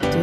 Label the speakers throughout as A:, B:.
A: Du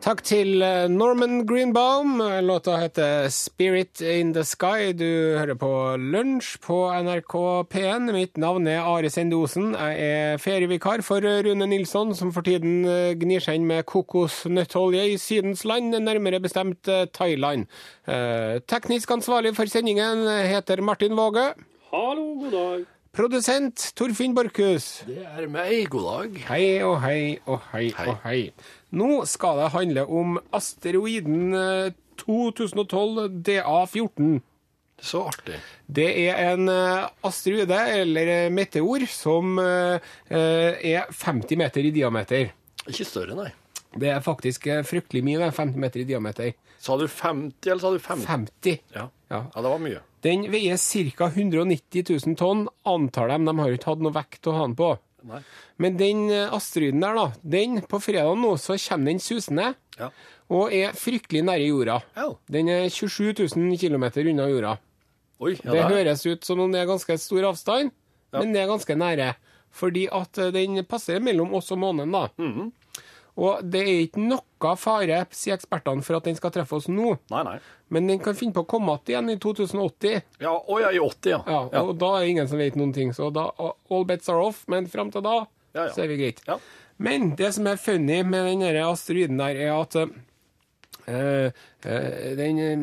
B: Takk til eh, Norman Greenbaum. Låta heter 'Spirit in the Sky'. Du hører på Lunsj på NRK P1. Mitt navn er Are Sende Osen. Jeg er ferievikar for Rune Nilsson, som for tiden eh, gnir seg inn med kokosnøttolje i Sydens land, nærmere bestemt eh, Thailand. Eh, Teknisk ansvarlig for sendingen heter Martin Våge.
C: Hallo, god dag.
B: Produsent Torfinn Borchhus.
D: Det er meg, god dag.
B: Hei og hei og hei, og hei. Nå skal det handle om asteroiden eh, 2012 DA14.
D: Så artig.
B: Det er en eh, asteroide, eller eh, meteor, som eh, eh, er 50 meter i diameter.
D: Ikke større, nei.
B: Det er faktisk eh, fryktelig mye, det. 50 meter i diameter.
D: Sa du 50, eller sa du 50?
B: 50.
D: Ja.
B: Ja.
D: ja, det var mye.
B: Den veier ca. 190 000 tonn, antar de. De har jo ikke hatt noe vekt å ha den på.
D: Nei.
B: Men den eh, asteroiden der, da, den på fredag nå, så kommer den susende.
D: Ja.
B: og er fryktelig nære jorda.
D: Au.
B: Den er 27 000 km unna jorda.
D: Oi, ja,
B: Det
D: der.
B: høres ut som om det er ganske stor avstand, men det er ganske nære. Fordi at eh, den passerer mellom oss og månen, da.
D: Mhm.
B: Og det er ikke noe fare, sier ekspertene, for at den skal treffe oss nå.
D: Nei, nei.
B: Men den kan finne på å komme igjen igjen i 2080,
D: Ja, å ja, i 80, ja.
B: ja, og da er det ingen som vet noen ting. Så da, all bets are off, men fram til da
D: Ja, ja.
B: så er vi greit.
D: Ja.
B: Men det som er funny med den der asteroiden der, er at eh, eh, den eh,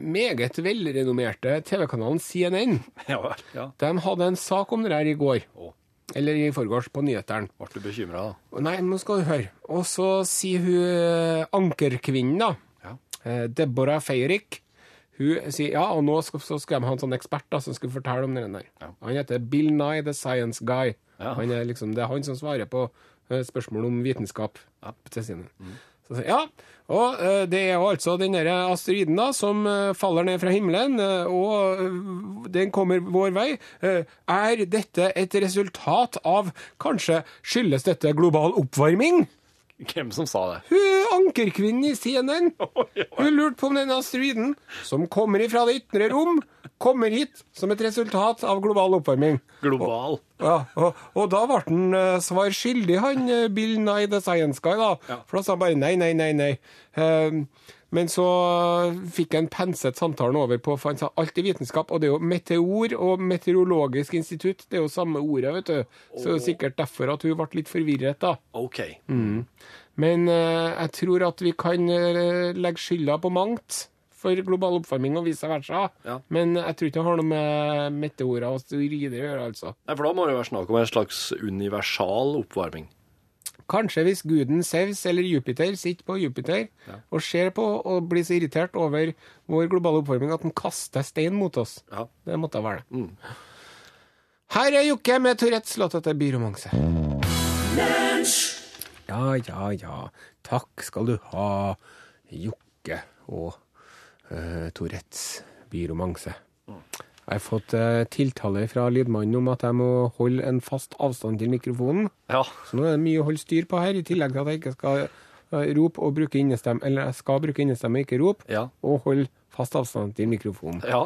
B: meget velrenommerte TV-kanalen CNN
D: Ja vel. Ja.
B: de hadde en sak om det her i går.
D: Å.
B: Eller i forgårs, på nyhetene.
D: Ble du bekymra, da?
B: Og Nei, nå skal du høre. Og så sier hun eh, ankerkvinnen, da.
D: Ja.
B: Eh, Deborah Feirik. Hun sier ja, og nå skal, så skal de ha en sånn ekspert da, som skal fortelle om den der. Han heter Bill Nye, the science guy.
D: Ja.
B: Han er liksom, det er han som svarer på eh, spørsmål om vitenskap til sine. Så sier, ja, og eh, det er jo altså den der asteroiden da, som eh, faller ned fra himmelen, eh, og eh, den kommer vår vei. Eh, er dette et resultat av, kanskje skyldes dette global oppvarming?
D: Hvem som sa det?
B: Hun ankerkvinnen i CNN. Hun lurte på om den asteroiden som kommer ifra det ytre rom, kommer hit som et resultat av global oppvarming.
D: Global.
B: Ja, og, og da ble han eh, svar skyldig, han eh, Bill Nye the Science Guy, da. For da sa han bare nei, nei, nei, nei. Ehm, men så fikk han penset samtalen over på, for han sa alt er vitenskap, og det er jo meteor og meteorologisk institutt, det er jo samme ordet, vet du. Så det er jo sikkert derfor at hun ble litt forvirret, da.
D: OK.
B: Mm. Men eh, jeg tror at vi kan eh, legge skylda på mangt for global oppvarming og vice versa.
D: Ja.
B: Men jeg tror ikke det har noe med meteorer og asteroider å gjøre, altså.
D: Nei, For da må det jo være snakk om en slags universal oppvarming.
B: Kanskje hvis guden Sevs eller Jupiter sitter på Jupiter og ser på og blir så irritert over vår globale oppvarming at han kaster stein mot oss.
D: Ja.
B: Det måtte være det. Her er Jokke med Tourettes låt etter byromanse. Ja, ja, ja. Takk skal du ha, Jokke og uh, Tourettes byromanse. Jeg har fått eh, tiltale fra lydmannen om at jeg må holde en fast avstand til mikrofonen.
D: Ja.
B: Så nå er det mye å holde styr på her, i tillegg til at jeg ikke skal eh, rope og bruke innestemme, eller jeg skal bruke innestemme og ikke rope,
D: Ja.
B: og holde fast avstand til mikrofonen,
D: Ja.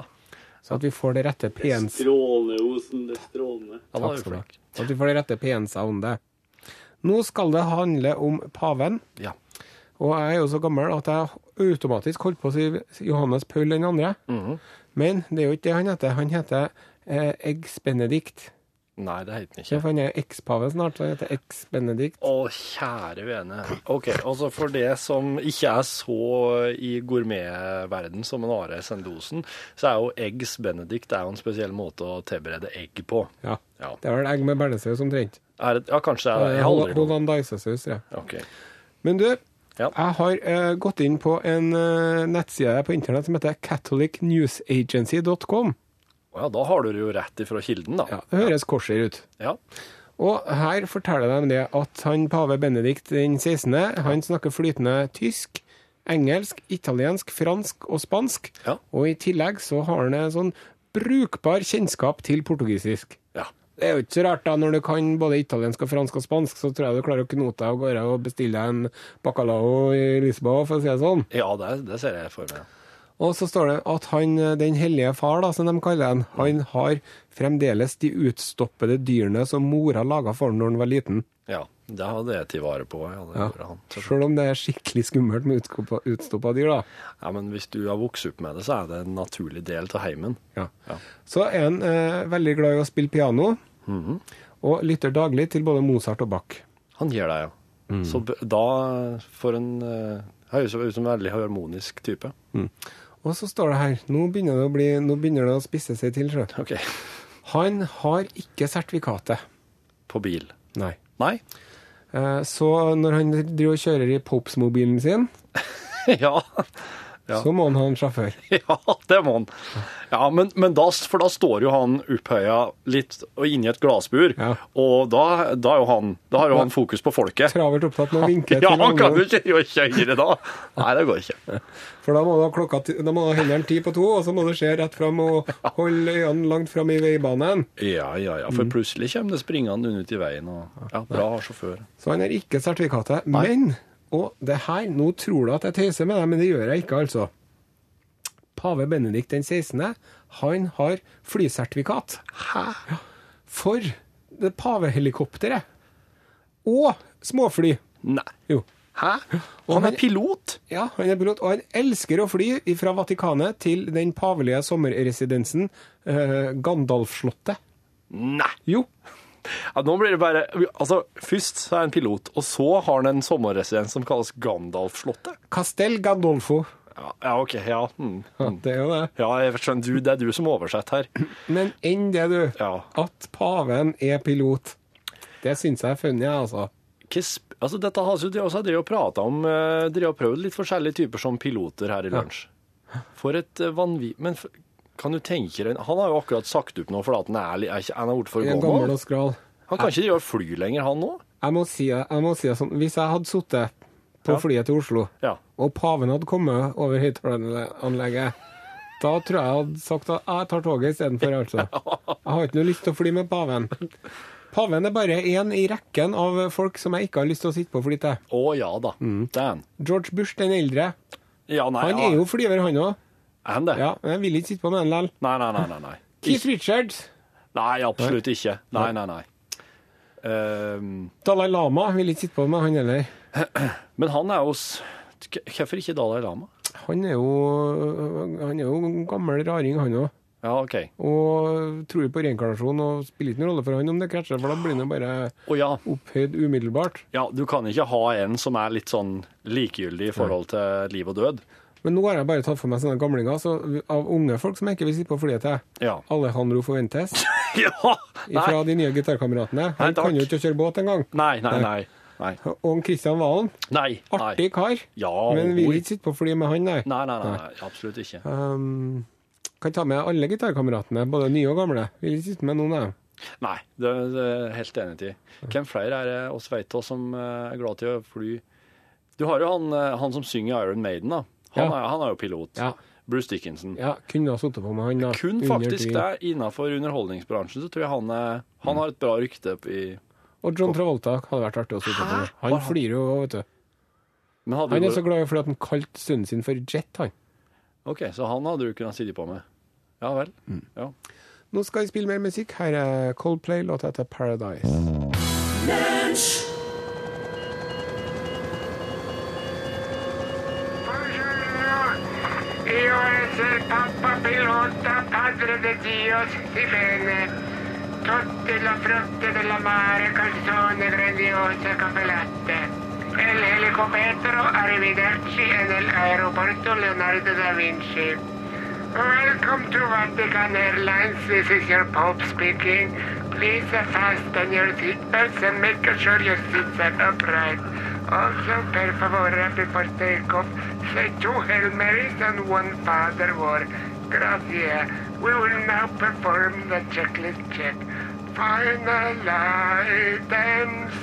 B: så at vi får det rette P1
C: Strålende, Osen. Det er strålende.
D: ja
B: Takk skal du ha. Så at vi får det rette P1-soundet. Nå skal det handle om paven,
D: Ja.
B: og jeg er jo så gammel at jeg automatisk holdt på å si Johannes Paul den andre,
D: Mhm.
B: men det er jo ikke det han heter. Han heter eh, Eggs Benedikt.
D: Nei, det heter den ikke.
B: Ja, for Han er ekspave snart, så han heter Eggs Benedikt.
D: Å, kjære vene. Ok, altså for det som ikke er så i gourmetverden som en Are Sendosen, så er jo eggs benedict det er jo en spesiell måte å tilberede egg på.
B: Ja.
D: Ja.
B: Det er vel egg med bearnéssaus omtrent.
D: Er det, ja, kanskje det er
B: Eh,
D: jeg har aldri
B: Holland Dice-saus, ja.
D: Ok.
B: Men du,
D: Ja.
B: jeg har eh, gått inn på en eh, nettside på internett som heter catholicnewsagency.com.
D: Å Ja, da har du det jo rett ifra kilden, da.
B: Ja, det høres korser ut.
D: Ja.
B: Og her forteller de det at han pave Benedikt den 16., han snakker flytende tysk, engelsk, italiensk, fransk og spansk.
D: Ja.
B: Og i tillegg så har han en sånn brukbar kjennskap til portugisisk.
D: Ja.
B: Det er jo ikke så rart, da. Når du kan både italiensk, og fransk og spansk, så tror jeg du klarer å knote deg av gårde og bestille deg en bacalao i Lisboa, for å si det sånn.
D: Ja, det, det ser jeg for meg.
B: Og så står det at han, eh, den hellige far, da, som de kaller han, han har fremdeles de utstoppede dyrene som mora laga for ham når han var liten.
D: Ja, det hadde jeg tatt vare på. Ja, det
B: Ja.
D: gjorde han. selvfølgelig.
B: Sjøl om det er skikkelig skummelt med utstoppa- utstoppa dyr, da.
D: ja, Men hvis du har vokst opp med det, så er det en naturlig del av heimen.
B: Ja.
D: Ja.
B: Så er han eh, veldig glad i å spille piano,
D: Mhm.
B: og lytter daglig til både Mozart og Bach.
D: Han gjør det, ja. Så b- da får en eh, Høres ut som en veldig harmonisk type.
B: Og så står det her Nå begynner det å, bli, nå begynner det å spisse seg til. sjø.
D: OK.
B: Han har ikke sertifikatet.
D: På bil.
B: Nei.
D: Nei?
B: Eh, Så når han driver og kjører i Popes-mobilen sin,
D: ja. Ja.
B: så må han ha en sjåfør.
D: Ja, det må han. Ja, men, men da, for da står jo han opphøya litt og inni et glassbur,
B: Ja.
D: og da, da, er jo han, da har jo han fokus på folket.
B: Travelt opptatt med å vinke
D: Ja,
B: til
D: han kan jo
B: ungdom.
D: ikke gjøre kjøre da. Nei, det går ikke.
B: For da må du ha klokka ti- da må du ha hendene ti på to, og så må du se rett fram og holde øynene langt fram i veibanen.
D: Ja, ja, ja, for plutselig kommer det springende ut i veien, og ja, bra sjåfør.
B: Så han har ikke sertifikatet. Men, og det her, nå tror du at jeg tøyser med deg, men det gjør jeg ikke, altså. Pave Benedikt den 16., han har flysertifikat.
D: Hæ?
B: for det pavehelikopteret. Og småfly.
D: Nei.
B: Jo.
D: Hæ? Han er pilot?
B: Ja, han er pilot, og han elsker å fly fra Vatikanet til den pavelige sommerresidensen eh, Gandalfslottet.
D: Nei.
B: Jo.
D: Ja, nå blir det bare Altså, først så er han pilot, og så har han en sommerresidens som kalles Gandalf-slottet.
B: Castel Gandolfo.
D: Ja, ja, OK. Ja. Mm.
B: Ja, det er jo det.
D: Ja, jeg skjønner, du, det er du som oversetter her.
B: Men enn det, du.
D: Ja.
B: At paven er pilot. Det syns jeg er funny, jeg, altså.
D: Hva sp- Altså, dette har vi også drevet og pratet om, eh, drevet og prøvd litt forskjellige typer som piloter her i lunsj. For et eh, vanvi... Men f- kan du tenke deg, han har jo akkurat sagt opp nå fordi at han er, li- er, ikke- han er blitt for
B: Jeg er gammel
D: gammel.
B: og skral.
D: Han kan ikke drive og fly lenger, han nå?
B: Jeg må si jeg må si det sånn, hvis jeg hadde sittet på
D: Ja.
B: flyet til Oslo
D: Ja.
B: og paven hadde kommet over høyttaleranlegget, da tror jeg jeg hadde sagt at jeg tar toget istedenfor, altså. Jeg har ikke noe lyst til å fly med paven. Paven er bare én i rekken av folk som jeg ikke har lyst til å sitte på fly til.
D: Å ja da. Det er han.
B: George Bush den eldre.
D: Ja, nei,
B: Han
D: ja.
B: er jo flyver, han òg.
D: Er han det?
B: Ja, men jeg vil ikke sitte på med han likevel.
D: Nei, nei, nei, nei, nei.
B: Keith Richards.
D: Nei, absolutt ikke. Nei, nei, nei. Ehm,
B: Dalai Lama vil ikke sitte på med han heller.
D: men han er jo s- K- Hvorfor ikke Dalai Lama?
B: Han er jo, han er jo en gammel raring, han òg.
D: Ja, OK.
B: Og tror på reinkarnasjon og spiller ikke noen rolle for han om det krasjer, for da blir han jo bare
D: Å ja.
B: opphøyd umiddelbart.
D: Ja, du kan ikke ha en som er litt sånn likegyldig i forhold til liv og død.
B: Men nå har jeg bare tatt for meg sånne gamlinger så av unge folk som jeg ikke vil sitte på flyet til.
D: Ja.
B: Alejandro Fuentes
D: ja!
B: fra
D: Nei,
B: de nye gitarkameratene.
D: Nei,
B: Han
D: takk.
B: kan jo ikke kjøre båt engang.
D: nei, nei. nei. Nei.
B: Og Kristian Valen,
D: nei. nei.
B: artig kar,
D: Ja,
B: men vil
D: oi.
B: ikke sitte på fly med han, nei.
D: Nei, nei, nei, nei, absolutt ikke.
B: Um, kan ta med alle gitarkameratene, både nye og gamle. Vil ikke sitte med noen av dem.
D: Nei, det er det er jeg helt enig i. Hvem flere er det oss veit oss som eh, er glad til å fly Du har jo han, eh, han som synger Iron Maiden, da.
B: Ja.
D: Han, er, han er jo pilot.
B: Ja.
D: Bruce Dickinson.
B: Ja, kunne ha sittet på med han. da.
D: Kun
B: Under
D: faktisk
B: tvil.
D: der innafor underholdningsbransjen så tror jeg han, er, han har et bra rykte i
B: Og John Travolta hadde vært artig å sitte på.
D: Hæ?
B: med. Han
D: Var han-
B: flirer jo, vet du.
D: Men hadde
B: Han
D: jo
B: er så glad i fordi at han kalte sønnen sin for Jet, han.
D: OK, så han hadde du kunnet sitte på med. Ja vel.
B: Mm.
D: Ja.
B: Nå skal vi spille mer musikk. Her er Coldplay, låta heter 'Paradise'.
E: Io essere pappa pilota, padre di Dio, si bene. Tutte la fronte della mare, canzone grandiose, capellate. E l'elicopettero, arrivederci, è nell'aeroporto Leonardo da Vinci. Welcome to Vatican Airlines, this is your Pope speaking. Please uh, fasten your seatbelts and make sure your seats are upright. Also, per favore, before takeoff, say two Hail Marys and one Father War. Grazie. We will now perform the checklist check. Final items,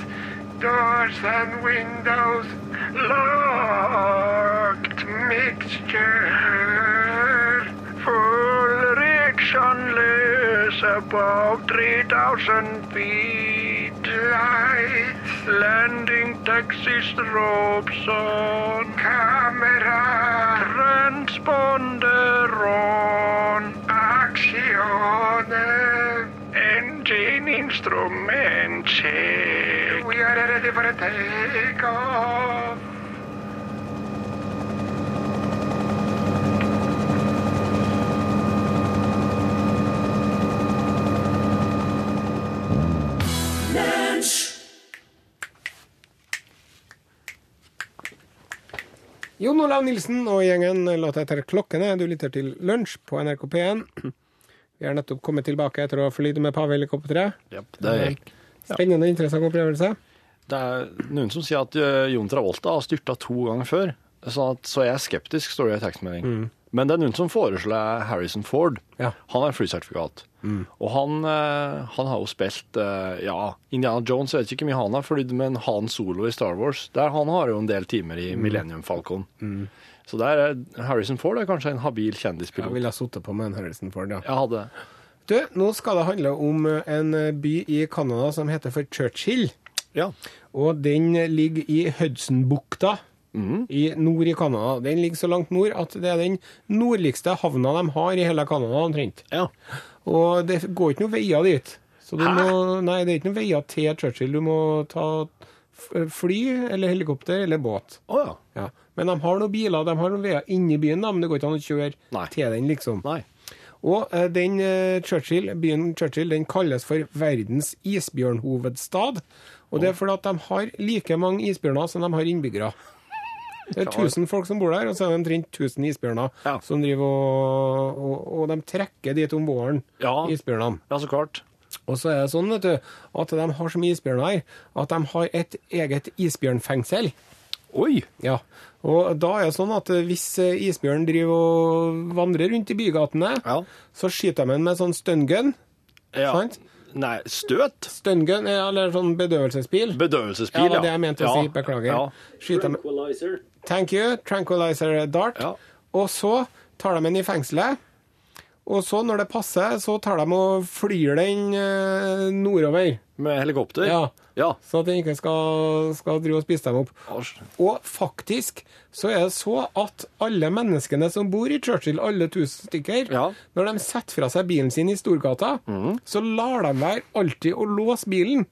E: doors and windows locked, mixture, full erectionless above 3,000 feet. lights. Landing taxis Robson. Camera. Transponder on. Action. Engine instrument check. We are ready for a takeoff.
B: Jon Olav Nilsen og gjengen låter etter klokkene. Du lytter til Lunsj på NRK P1. Vi har nettopp kommet tilbake etter å ha flydd med pavehelikopteret.
D: Japp, det, er,
B: Spennende og interessant opplevelse.
D: det er noen som sier at eh, Jon Travolta har styrta to ganger før, sånn at, så jeg er skeptisk, står det i tekstmelding. Men det er noen som foreslår Harrison Ford.
B: Ja.
D: Han er flysertifikat. Og han, eh, han har jo spilt eh, ja, Indiana Jones, jeg vet ikke hvor mye han har flydd, men Han Solo i Star Wars, der han har jo en del timer i Millennium Falcon. Så der er Harrison Ford er kanskje en habil
B: Jeg
D: kjendispilot.
B: ville ha sittet på med en Harrison Ford, ja.
D: Jeg hadde
B: Du, nå skal det handle om en by i Canada som heter for Churchill.
D: Ja.
B: Og den ligger i Hudsonbukta
D: Mm.
B: i nord i Canada. Den ligger så langt nord at det er den nordligste havna de har i hele Canada omtrent.
D: ja.
B: Og det går ikke noen veier dit. Så du
D: Hæ?
B: må, nei, det er ikke noen veier til Churchill. Du må ta f- fly eller helikopter eller båt.
D: Å ja.
B: Ja. Men de har noen biler, de har noen veier inni byen, da, men det går ikke an å kjøre
D: Nei.
B: til den, liksom.
D: Nei.
B: Og eh, den eh, Churchill, byen Churchill den kalles for verdens isbjørnhovedstad. Og det er fordi at de har like mange isbjørner som de har innbyggere. Det er 1000 folk som bor der, og så er det omtrent 1000 isbjørner
D: Ja.
B: som driver og, og, og de trekker dit om våren,
D: Ja.
B: isbjørnene.
D: Ja, så klart.
B: Og så er det sånn vet du, at de har så mye isbjørner her at de har et eget isbjørnfengsel.
D: Oi!
B: Ja, og da er det sånn at hvis eh, isbjørnen driver og vandrer rundt i bygatene,
D: Ja.
B: så skyter de den med sånn støngun.
D: Ja.
B: Sant?
D: Nei, støt?
B: Støngun, eller sånn bedøvelsesbil.
D: Bedøvelsesbil,
B: Ja,
D: ja.
B: det var det jeg mente å
D: Ja,
B: si, beklager.
D: Ja.
B: Skyter de,
C: Tranquilizer.
B: thank you, tranquilizer dart.
D: Ja.
B: Og så tar de den i fengselet, og så når det passer, så tar de og flyr den eh, nordover,
D: Med helikopter?
B: Ja.
D: ja.
B: så at den ikke skal, skal drive og spise dem opp. Og faktisk så er det så at alle menneskene som bor i Churchill, alle tusen stykker,
D: Ja. Mhm.
B: når de setter fra seg bilen sin i Storgata, så lar de være alltid å låse bilen.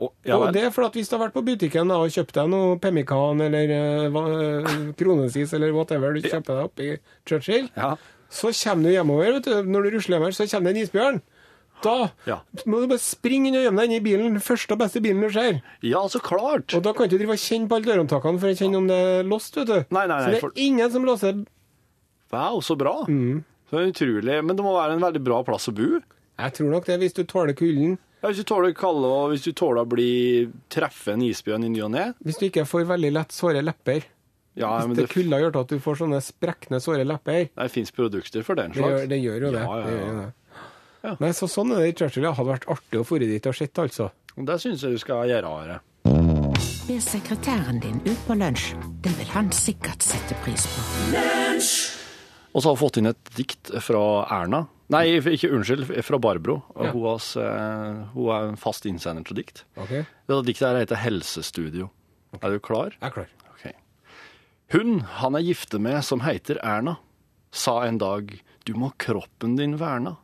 D: Og, ja,
B: og
D: vel.
B: det er fordi at hvis du har vært på butikken da, og kjøpt deg noe pemmikan eller eh, hva- eh, kronesis eller whatever du kjøper deg opp i Churchill,
D: Ja.
B: så kommer du hjemover, vet du, når du rusler hjemover, så kommer det en isbjørn. Da
D: Ja.
B: må du bare springe inn og gjemme deg inn i bilen, første og beste bilen du ser.
D: ja, så klart!
B: Og da kan du ikke drive og kjenne på alle dørhåndtakene for å kjenne om det er låst, vet du.
D: Nei, nei, nei,
B: så det er
D: for-
B: ingen som låser
D: Wow, så bra!
B: Mm.
D: Så utrolig. Men det må være en veldig bra plass å bo.
B: Jeg tror nok det, hvis du tåler kulden.
D: Ja, hvis du tåler kalde, og hvis du tåler å bli treffe en isbjørn i ny og ne
B: Hvis du ikke får veldig lett såre lepper.
D: ja,
B: Hvis
D: men
B: det
D: det,
B: kulda gjør at du får sånne sprekne, såre lepper.
D: det fins produkter for den
B: Det gjør,
D: slags.
B: det gjør jo det.
D: Ja, ja,
B: Det gjør jo
D: ja.
B: det.
D: Ja.
B: Nei, så sånn er det i Churchill. Det hadde vært artig å fore dit og sett, altså.
D: Det syns jeg du skal gjøre. Are.
F: Ber sekretæren din ut på lunsj. Det vil han sikkert sette pris på.
D: Og så har vi fått inn et dikt fra Erna. Nei, ikke unnskyld, fra Barbro. Og
B: Ja.
D: Hun, har s- eh, hun er en fast innsender til dikt.
B: OK, jeg
D: Dette diktet her heter Helsestudio. Er du klar?
B: er klar.
D: Ok. Hun han er gifte med som heter Erna, sa en dag du må kroppen din verna.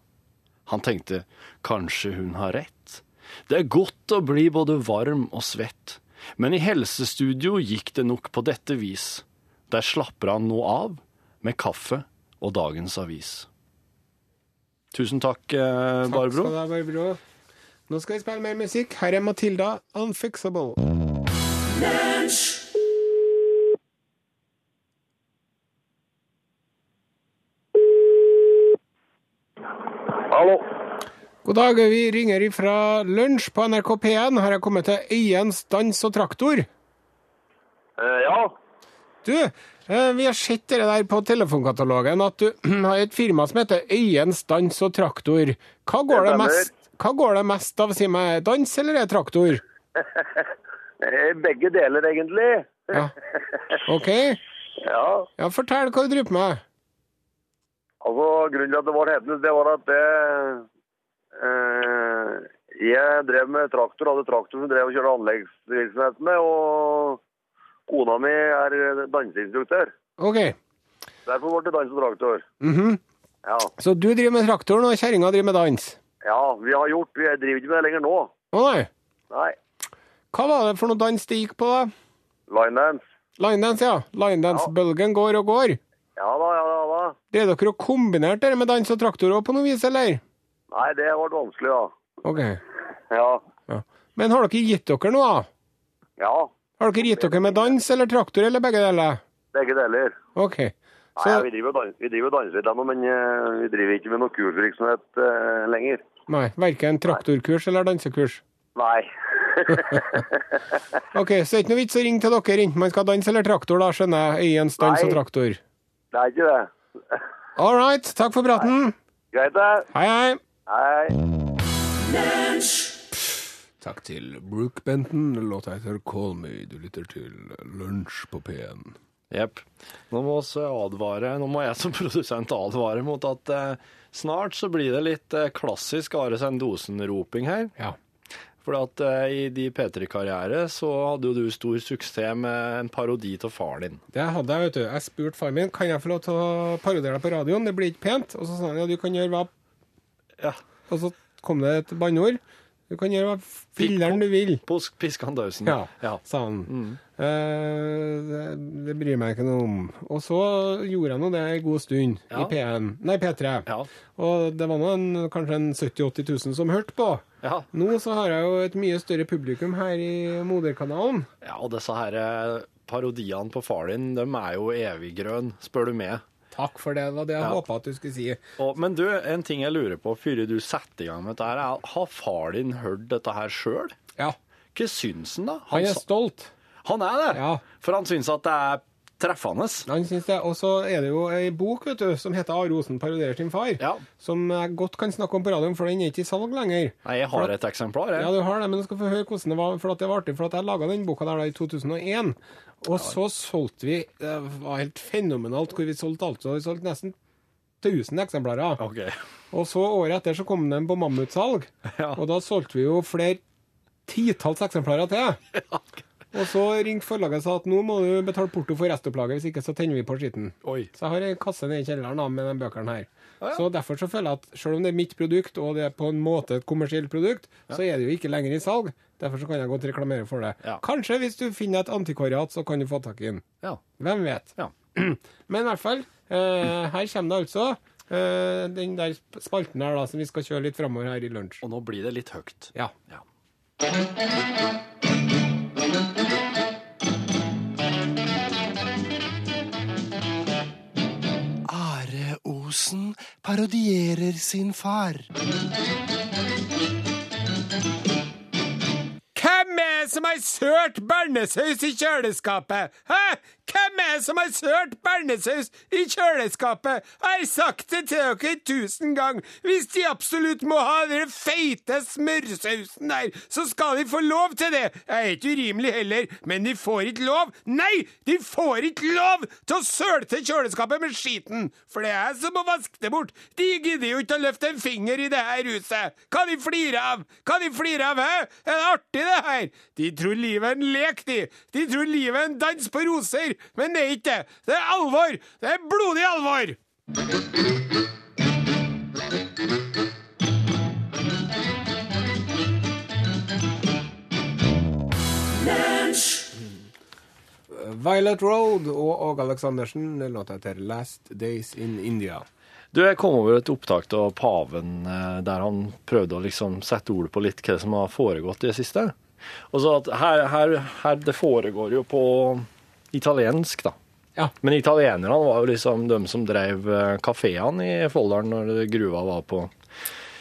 D: Han tenkte kanskje hun har rett. Det er godt å bli både varm og svett, men i helsestudio gikk det nok på dette vis. Der slapper han nå av med kaffe og dagens avis. Tusen takk, eh,
B: Takk
D: Barbro.
B: skal du ha, Barbro. Nå skal vi spille mer musikk. Her er Matilda, 'Unfixable'.
G: Hallo.
B: God dag, vi ringer ifra lunsj på NRK P1. Her er kommet til Øyens dans og traktor.
G: Eh, ja.
B: Du, eh, vi har sett det der på telefonkatalogen at du har et firma som heter Øyens dans og traktor. Hva går det
G: Det stemmer.
B: mest, hva går det mest av, si meg? Dans eller er det traktor?
G: Eh, Begge deler, egentlig.
B: Ja. OK.
G: Ja.
B: Ja, fortell hva du driver med.
G: Altså, grunnen til at det var hetende, det var at det eh, Jeg drev med traktor, hadde traktor som drev og kjørte anleggsvirksomhet med, og kona mi er danseinstruktør.
B: OK.
G: Derfor ble det dans og traktor.
B: Mhm.
G: Ja.
B: Så du driver med traktoren, og kjerringa driver med dans?
G: ja, vi har gjort, vi driver ikke med det lenger nå.
B: Å nei.
G: Nei,
B: Hva var det for noe dans det gikk på, da?
G: linedance.
B: Linedance, ja. Linedance-bølgen går og går.
G: Ja da, ja da, ja da.
B: Drev dere og kombinerte det med dans og traktor også på noe vis, eller?
G: Nei, det ble vanskelig, da.
B: OK.
G: Ja,
B: Ja. Men har dere gitt dere noe, da?
G: ja,
B: Har dere gitt dere med dans eller traktor eller begge deler?
G: begge deler.
B: OK.
G: Nei,
B: Så,
G: ja, vi driver og dans- vi driver og danser litt ennå, men eh, vi driver ikke med noe kursvirksomhet eh, lenger.
B: nei, verken traktorkurs eller dansekurs.
G: Nei.
B: OK, så det er ikke noe vits å ringe til dere enten man skal danse eller traktor, da, skjønner jeg. Øyens dans og
G: Nei.
B: traktor.
G: det er ikke det.
B: All right, takk for praten.
G: Greit, det.
B: Hei, hei.
G: Hei.
B: Takk til Brooke Benton. Låta heter Call Me. Du lytter til Lunsj på P1.
D: Jepp. Nå må oss advare, nå må jeg som produsent advare mot at eh, snart så blir det litt eh, klassisk Are Sendosen-roping her.
B: Ja.
D: For at eh, i din P3-karriere så hadde jo du stor suksess med en parodi til faren din.
B: Det hadde jeg, vet du. Jeg spurte faren min kan jeg få lov til å parodiere deg på radioen. Det blir ikke pent. Og så sa han ja, du kan gjøre hva
D: Ja.
B: Og så kom det et banneord. Du kan gjøre hva filleren du vil.
D: Pusk Piskandausen.
B: Ja, Mm.
D: ja.
B: sa han. Eh, det, det bryr meg ikke noe om. Og så gjorde han jo det en god stund i
D: Ja.
B: P1. Nei, P3.
D: Ja.
B: Og det var nå en, kanskje en 70 000-80 000 som hørte på.
D: Ja.
B: Nå så har jeg jo et mye større publikum her i moderkanalen.
D: Ja, og disse her eh, parodiene på far din, de er jo eviggrønn, spør du meg.
B: Takk for det, det var det jeg
D: Ja.
B: håpet at du skulle si.
D: Og, men du, en ting jeg lurer på før du setter i gang med dette her, er har far din hørt dette her sjøl?
B: Ja,
D: Hva syns han, da?
B: han er
D: sa-
B: stolt.
D: han er det?
B: Ja.
D: For han syns at det er treffende?
B: Han syns det. Og så er det jo ei bok vet du, som heter 'Are Osen parodierer sin far',
D: Ja.
B: som jeg godt kan snakke om på radioen, for den er ikke i salg lenger.
D: Nei, jeg har et eksemplar, jeg.
B: Ja, du har det, men du skal få høre hvordan det var, for at det var artig, for at jeg laga den boka der da i 2001. Og så solgte vi Det var helt fenomenalt hvor vi solgte alt. Så vi solgte nesten 1000 eksemplarer.
D: Ok.
B: Og så året etter så kom den på mammutsalg,
D: Ja.
B: og da solgte vi jo flere titalls eksemplarer til. Og så ringte forlaget og sa at nå må du betale porto for restopplaget, hvis ikke så tenner vi på skitten.
D: Oi.
B: Så jeg har en kasse nede i kjelleren da, med de bøkene her. Så derfor så føler jeg at selv om det er mitt produkt, og det er på en måte et kommersielt produkt, så er det jo ikke lenger i salg. Derfor så kan jeg godt reklamere for det.
D: Ja.
B: Kanskje hvis du finner et antikvariat, så kan du få tak i den.
D: Ja.
B: Hvem vet?
D: Ja.
B: Men i hvert fall, eh, her kommer det altså eh, den der spalten her da, som vi skal kjøre litt framover her i lunsj.
D: Og nå blir det litt høyt.
B: Ja.
D: Ja.
H: Are Osen parodierer sin far.
B: Hvem er det som har sølt bernesaus i kjøleskapet? Hæ? Hvem er det som har sølt bernesaus i kjøleskapet? Jeg har sagt det til dere tusen ganger. Hvis de absolutt må ha den feite smørsausen der, så skal de få lov til det. Jeg er ikke urimelig heller, men de får ikke lov. Nei, de får ikke lov til å søle til kjøleskapet med skiten, for det er jeg som må vaske det bort. De gidder jo ikke å løfte en finger i det her huset. Hva de flirer av? Hva de flirer av, hæ? Er det artig, det her? De tror livet er en lek, de. De tror livet er en dans på roser, men det er ikke det. Det er alvor. Det er blodig alvor. Violet Road og Åge Aleksandersen låta etter Last Days in India.
D: Du, jeg kom over et opptak av paven eh, der han prøvde å liksom sette ord på litt hva som har foregått i det siste. Og så at her, her, her Det foregår jo på italiensk, da.
B: Ja.
D: Men italienerne var jo liksom de som drev eh, kafeene i Folldalen når gruva var på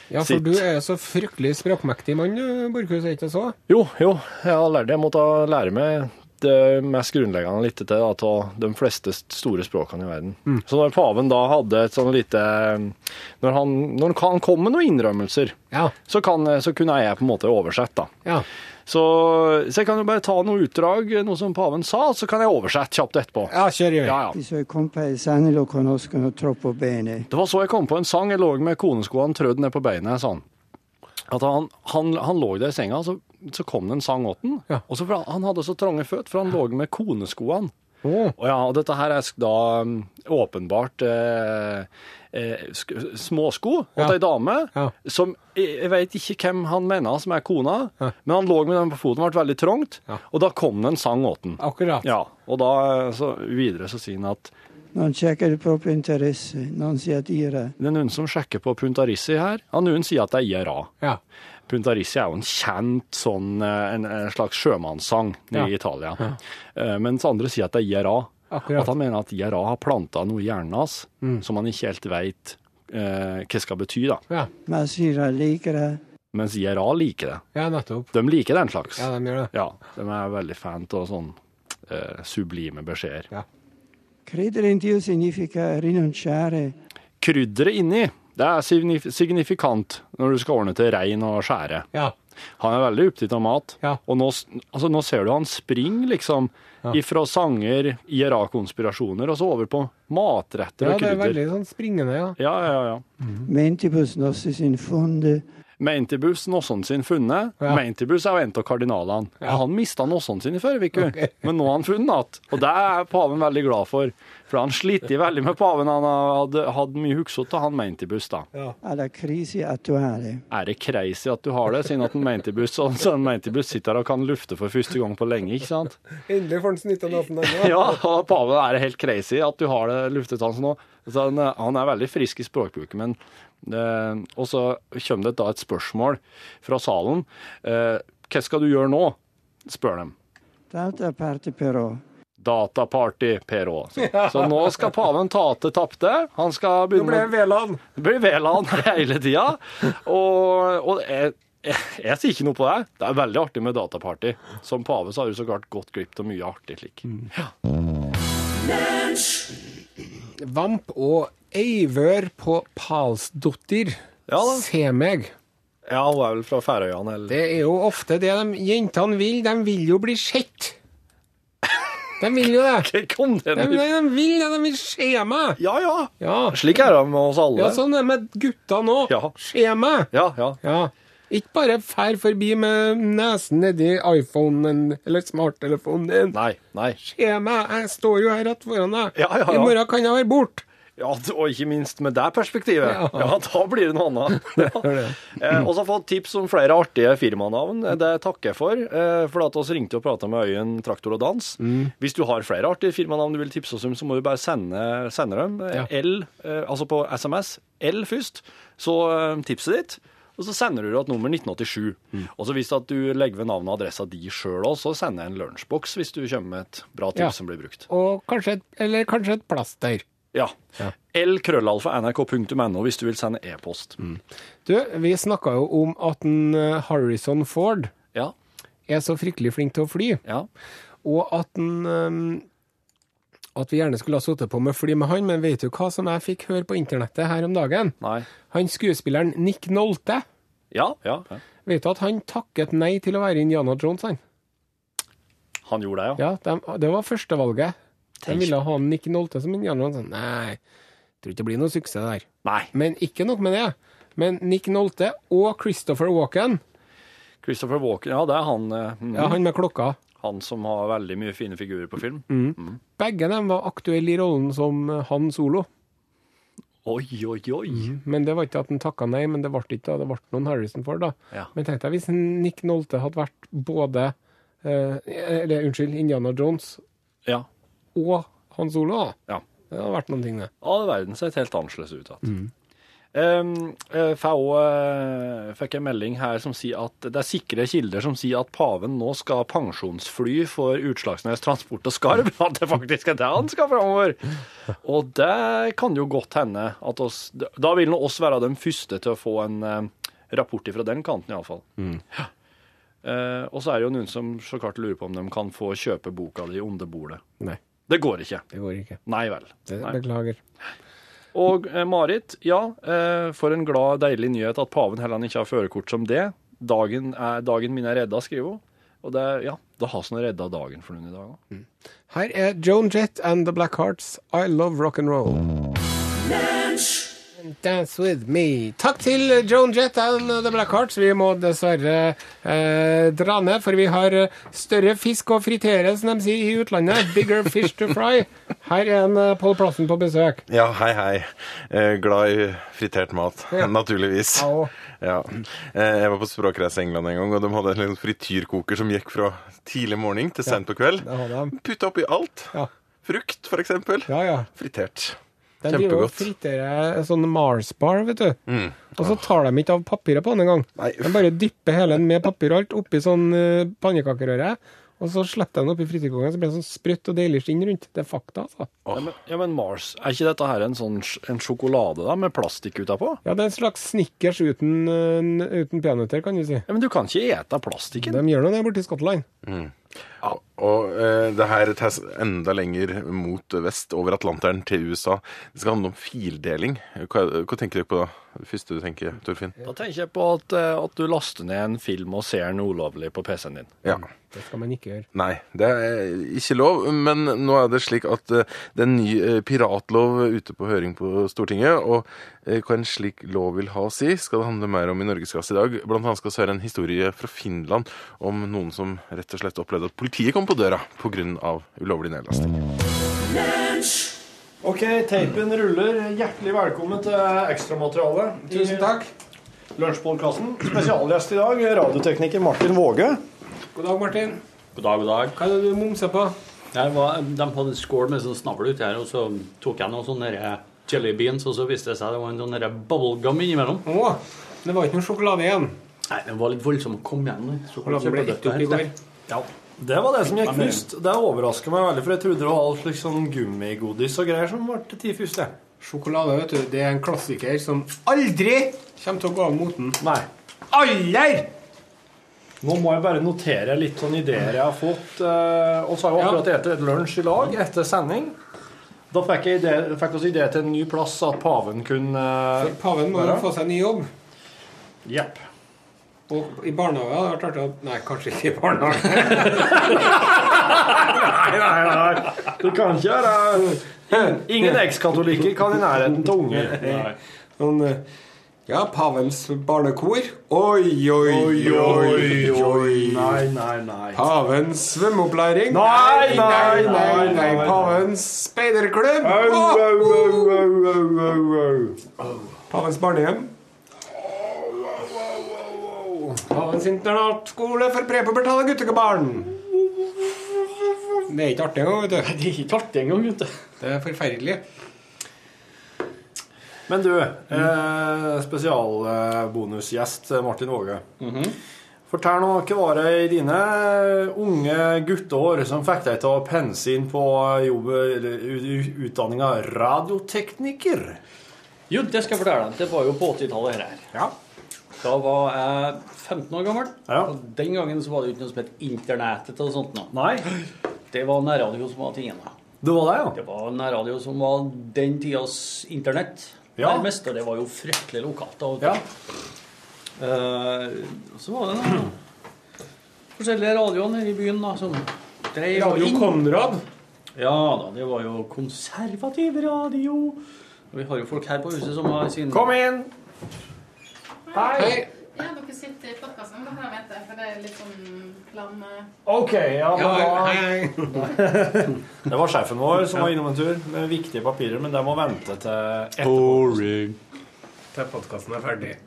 B: Ja, for
D: Sitt.
B: du er jo så fryktelig språkmektig mann, du, Borchhus, er ikke det så?
D: Jo, jo, jeg har lært det. Jeg måtte lære meg det mest grunnleggende litt til da, av de fleste store språkene i verden.
B: Mm.
D: Så når paven da hadde et sånn lite Når han, når han kom med noen innrømmelser,
B: Ja.
D: så, kan, så kunne jeg på en måte oversette, da.
B: Ja.
D: Så, så jeg kan jo bare ta noe utdrag, noe som paven sa, så kan jeg oversette kjapt etterpå.
B: ja, kjør i vei.
D: Ja, ja.
I: I suoi compaesani lo conoscono troppo bene.
D: Det var så jeg kom på en sang jeg lå med koneskoene trødd ned på beinet, sa han. at han, han, han lå der i senga, og så, så kom det en sang åt den.
B: Ja.
D: Og så for, han hadde så trange føt, for han lå med koneskoene.
B: Å.
D: Og ja, og dette her er sk- da mm, åpenbart eh, eh, sk- småsko åt
B: Ja.
D: ei dame,
B: Ja.
D: som jeg jeg vet ikke hvem han mener som er kona, men han lå med den på foten, ble veldig trangt,
B: Ja.
D: og da kom det en sang åt den.
B: Akkurat.
D: Ja, og da eh, så videre så sier han at
I: Noen sjekker på Pinterest, noen sier at IRA.
D: det er noen som sjekker på Puntarissi her. Ja, noen sier at det er IRA.
B: Ja.
D: Puntarissi er jo en kjent sånn, eh, en, en slags sjømannssang nede i Italia. Eh, Mens andre sier at det er IRA.
B: Akkurat. Mm.
D: At han mener at IRA har planta noe i hjernen hans som han ikke helt veit eh, hva skal bety, da.
B: Ja.
I: Man sier han liker det.
D: Mens IRA liker det.
B: ja, nettopp.
D: De liker den slags.
B: Ja, de gjør det.
D: Ja, de er veldig fan av sånn eh, sublime beskjeder.
I: Credere in Dio significa rinunciare.
D: Krydderet inni, det er signif- signifikant når du skal ordne til rein og skjære.
B: Ja.
D: Han er veldig opptatt av mat.
B: Ja.
D: Og nå, s- altså, nå ser du han springer liksom ifra sanger, IRA-konspirasjoner, og så over på matretter
B: ja,
D: og
B: det er
D: krydder.
B: veldig sånn springende, ja.
D: Ja, ja, ja.
I: Mentibus nostris in funde.
D: Mentibus, Nosson sin funnet.
B: Ja.
D: Mentibus er jo en av kardinalene.
B: Ja.
D: Han mista Nosson sin i forrige uke, men nå har han funnet igjen. Og det er paven veldig glad for, for han sliter veldig med paven. Han hadde, hadde mye huksete av han Mentibus, da.
I: Alla crisi attuale.
D: Er det crazy at du har det, siden at en Mentibus, så, så en Mentibus sitter her og kan lufte for første gang på lenge, ikke sant?
B: Endelig får han snytta nesen ennå.
D: Ja, og paven er det helt crazy at du har det luftetansen nå. Så han, eh, han er veldig frisk i språkbruket, men eh, Og så kommer det da et spørsmål fra salen. Eh, hva skal du gjøre nå? spør dem.
I: D'altra parte però,
D: Dataparty, Per Å. Så, så nå skal paven ta til tapte. Han skal
B: Nå ble
D: begynne
B: det Veland.
D: det blir Veland hele tida. Og, og jeg, jeg, jeg sier ikke noe på det. Det er veldig artig med dataparty. Som pave så har du så klart gått glipp av mye artig slik.
B: Mm. Vamp og Eivør på Palsdottir.
D: Ja da.
B: Se meg.
D: Ja, hun er vel fra Færøyene, eller?
B: Det er jo ofte det de jentene vil. De vil jo bli sett. De vil jo det.
D: Hvor kom den
B: De, de, de vil det. De vil se meg.
D: Ja, ja.
B: Ja.
D: Slik er det med oss alle.
B: ja, sånn er det med gutta nå.
D: Ja.
B: Se meg.
D: ja, ja.
B: Ja. Ikke bare fær forbi med nesen nedi iPhonen eller smarttelefonen din.
D: Nei, nei.
B: Se meg, jeg står jo her rett foran deg.
D: Ja, ja, ja.
B: I morgen kan jeg være borte.
D: Ja, og ikke minst med det perspektivet. Ja,
B: Ja.
D: da blir det noe annet. Ja. Eh, Og så har jeg fått tips om flere artige firmanavn. Det takker jeg for. eh, For at oss ringte og prata med Øyen Traktor og Dans. Hvis du har flere artige firmanavn du vil tipse oss om, så må du bare sende, sende dem. eh,
B: Ja.
D: L, eh, altså på SMS. L først, så eh, tipset ditt. Og så sender du et nummer 1987. Og så hvis at du legger ved navnet og adressa di sjøl òg, så sender jeg en lunsjboks hvis du kommer med et bra tips
B: Ja.
D: som blir brukt.
B: Og kanskje et, eller kanskje et plaster.
D: Ja. lkrøllalfa.nrk.no hvis du vil sende e-post.
B: Du, vi snakka jo om at en eh, Harrison Ford
D: Ja,
B: er så fryktelig flink til å fly,
D: ja.
B: og at en eh, At vi gjerne skulle ha sittet på med fly med han, men vet du hva som jeg fikk høre på internettet her om dagen?
D: Nei.
B: Han skuespilleren Nick Nolte,
D: Ja, ja. ja.
B: vet du at han takket nei til å være Indiana Jones, han?
D: Han gjorde det, ja.
B: Ja, dem- det var førstevalget. De
D: Tenk.
B: ville ha Nick Nolte som indianer. og sånn, Nei, tror ikke det blir noe suksess der.
D: Nei.
B: Men ikke nok med det. Men Nick Nolte og Christopher Walken,
D: Christopher Walken, ja, det er han, eh, mm,
B: ja, han med klokka,
D: han som har veldig mye fine figurer på film.
B: begge dem var aktuelle i rollen som eh, Han Solo.
D: Oi, oi, oi.
B: Men det var ikke at han takka nei, men det ble ikke da. Det ble noen Harrison Ford, da.
D: Ja.
B: Men tenk deg hvis Nick Nolte hadde vært både eh, Eller unnskyld, Indiana Jones
D: Ja.
B: og Han Solo, da.
D: Ja.
B: Det hadde vært noen ting, det.
D: All verden sett helt annerledes ut
B: Mm.
D: igjen. Um, eh, får også, eh, fikk en melding her som sier at det er sikre kilder som sier at paven nå skal pensjonsfly for Utslagsnes Transport og Skarv. At det faktisk er det han skal framover. Og det kan jo godt hende at oss Da vil nå oss være de første til å få en eh, rapport ifra den kanten, iallfall. Mm. Ja. Eh, og så er det jo noen som så klart lurer på om de kan få kjøpe boka di om det bordet.
B: Nei,
D: Det går ikke.
B: det går ikke.
D: Nei vel.
B: Det,
D: Nei.
B: beklager.
D: Og eh, Marit, ja, eh, for en glad, deilig nyhet at paven heller ikke har førerkort som det. Dagen, er, dagen min er redda, skriver hun. Og det, ja, det har sånn redda dagen for noen i dag òg.
B: Her er Joan Jett and The Black Hearts. I love rock and roll. Dance with me. Takk til Joan Jett and The Black Hearts. Vi må dessverre eh, dra ned, for vi har eh, større fisk å fritere, som de sier i utlandet. Bigger fish to fry. Her er en eh, Pål Plassen på besøk.
J: Ja, hei, hei. Eh, glad i fritert mat,
B: Ja.
J: naturligvis.
B: Ja, og-
J: Ja. Eh, jeg var på språkreise i England en gang, og de hadde en liten frityrkoker som gikk fra tidlig morgen til sent på kveld.
B: Der har de.
J: Putta oppi alt.
B: Ja.
J: Frukt, for eksempel.
B: Ja, ja.
J: Fritert.
B: De driver og
J: Kjempegodt. Mm.
B: friterer sånn Mars bar, vet du. Og så tar de ikke av papiret på den engang.
J: Nei,
B: De bare dypper hele den med papir og alt oppi sånn eh, pannekakerøre. Og så slipper de den oppi frityrkongen, så blir det sånn sprøtt og deilig skinn rundt. Det er fakta, altså.
K: Ja, men, ja, men Mars, er ikke dette her en sånn sj- en sjokolade da, med plastikk utapå?
B: Ja, det er en slags snickers uten, eh, uten peanøtter, kan du si.
K: Ja, men du kan ikke ete plastikken.
B: De gjør nå det borte i Skottland.
J: Og eh, det her tas enda lenger mot vest, over Atlanteren, til USA. Det skal handle om fildeling. Hva, hva tenker dere på da? Det første du tenker, Torfinn?
K: Da tenker jeg på at, eh, at du laster ned en film og ser den ulovlig på PC-en din.
J: Ja.
B: Mm, Det skal man ikke gjøre.
J: Nei, det er ikke lov, men nå er det slik at eh, det er en ny eh, piratlov ute på høring på Stortinget, og eh, hva en slik lov vil ha å si, skal det handle mer om i Norgesklasse i dag. Blant annet skal vi høre en historie fra Finland om noen som rett og slett opplevde at politiet kom på døra pga. ulovlig nedlasting.
D: Ok, teipen ruller. Hjertelig velkommen til ekstramaterialet. Tusen takk. Lunsjpodkasten. Spesialgjest i dag, radiotekniker Martin Våge.
B: God dag, Martin.
L: God dag, god dag.
B: Hva er det du mumser på?
L: Jeg var, de hadde en skål med sånn snavl uti her, og så tok jeg noen sånne der jelly beans, og så viste det seg det var en sånn der bubblegum innimellom.
B: Å, det var ikke noe sjokolade igjen.
L: Nei, den var litt voldsom. Kom igjen. nå. Så-
B: Sjokoladen ble gitt opp i går.
D: Ja, Det var det som gikk først. Det overrasker meg veldig, for jeg trodde det var all slags sånn gummigodis og greier som ble til først. jeg.
B: Sjokolade, vet du, det er en klassiker som aldri kommer til å gå av moten.
D: Nei.
B: Aller!
D: Nå må jeg bare notere litt sånne ideer jeg har fått. eh, Og så har vi
B: Ja.
D: akkurat spist et lunsj i lag etter sending. Da fikk jeg ide- fikk oss idé til en ny plass at paven kunne eh,
B: Paven må jo
D: være.
B: få seg ny jobb.
D: Jepp.
B: Og i barnehage hadde det vært artig å Nei, kanskje ikke i barnehage.
D: Nei, nei, nei. Du kan ikke være Ingen- Ingen ekskatolikker kan i nærheten til unge.
L: Nei.
B: Sånn, eh, ja, Pavels barnekor. Oi, oi, oi, oi.
D: Nei, nei, nei.
B: Pavens svømmeopplæring.
D: Nei, nei,
B: nei,
D: nei,
B: nei.
D: nei.
B: Pavens speiderklubb.
D: Au,
B: Å,
D: au, au, au, au, au, au.
B: Pavens barnehjem. Pavens internatskole for prepubertale guttebarn. Det er ikke artig engang, vet du.
L: Det er ikke artig engang, vet du.
B: Det er forferdelig.
D: Men du, eh, spesialbonusgjest eh, Martin Våge.
L: Mhm.
D: Fortell nå, hva var det i dine unge gutteår som fikk deg til å pense inn på eh, jobb, eller u- u- utdanninga radiotekniker?
L: Jo, det skal jeg fortelle deg. Det var jo på 80-tallet her.
D: Ja.
L: Da var jeg 15 år gammel.
D: Ja.
L: Og den gangen så var det jo ikke noe som het internettet og sånt. nå.
D: Nei,
L: Det var nærradio som var tingene.
D: det var det, ja.
L: Det var nærradio som var den tidas internett,
D: Ja.
L: nærmest. Og det var jo fryktelig lokalt. Og
D: Ja.
L: Eh, så var det da forskjellige radioer nede i byen da, som drev og
B: Radio
L: inn.
B: Konrad.
L: Ja da, det var jo konservativ radio. Og vi har jo folk her på huset som har sin
D: Kom inn! Hei!
B: Hei.
F: Ja, dere sitter i podkasten, men dere vet det, for det er litt sånn bland eh,
D: Ok, ja, det
B: Ja,
D: var,
B: hei, hei.
D: det var sjefen vår som var innom en tur med viktige papirer, men det må vente til etterpå.
L: Boring.
B: Til podkasten er ferdig.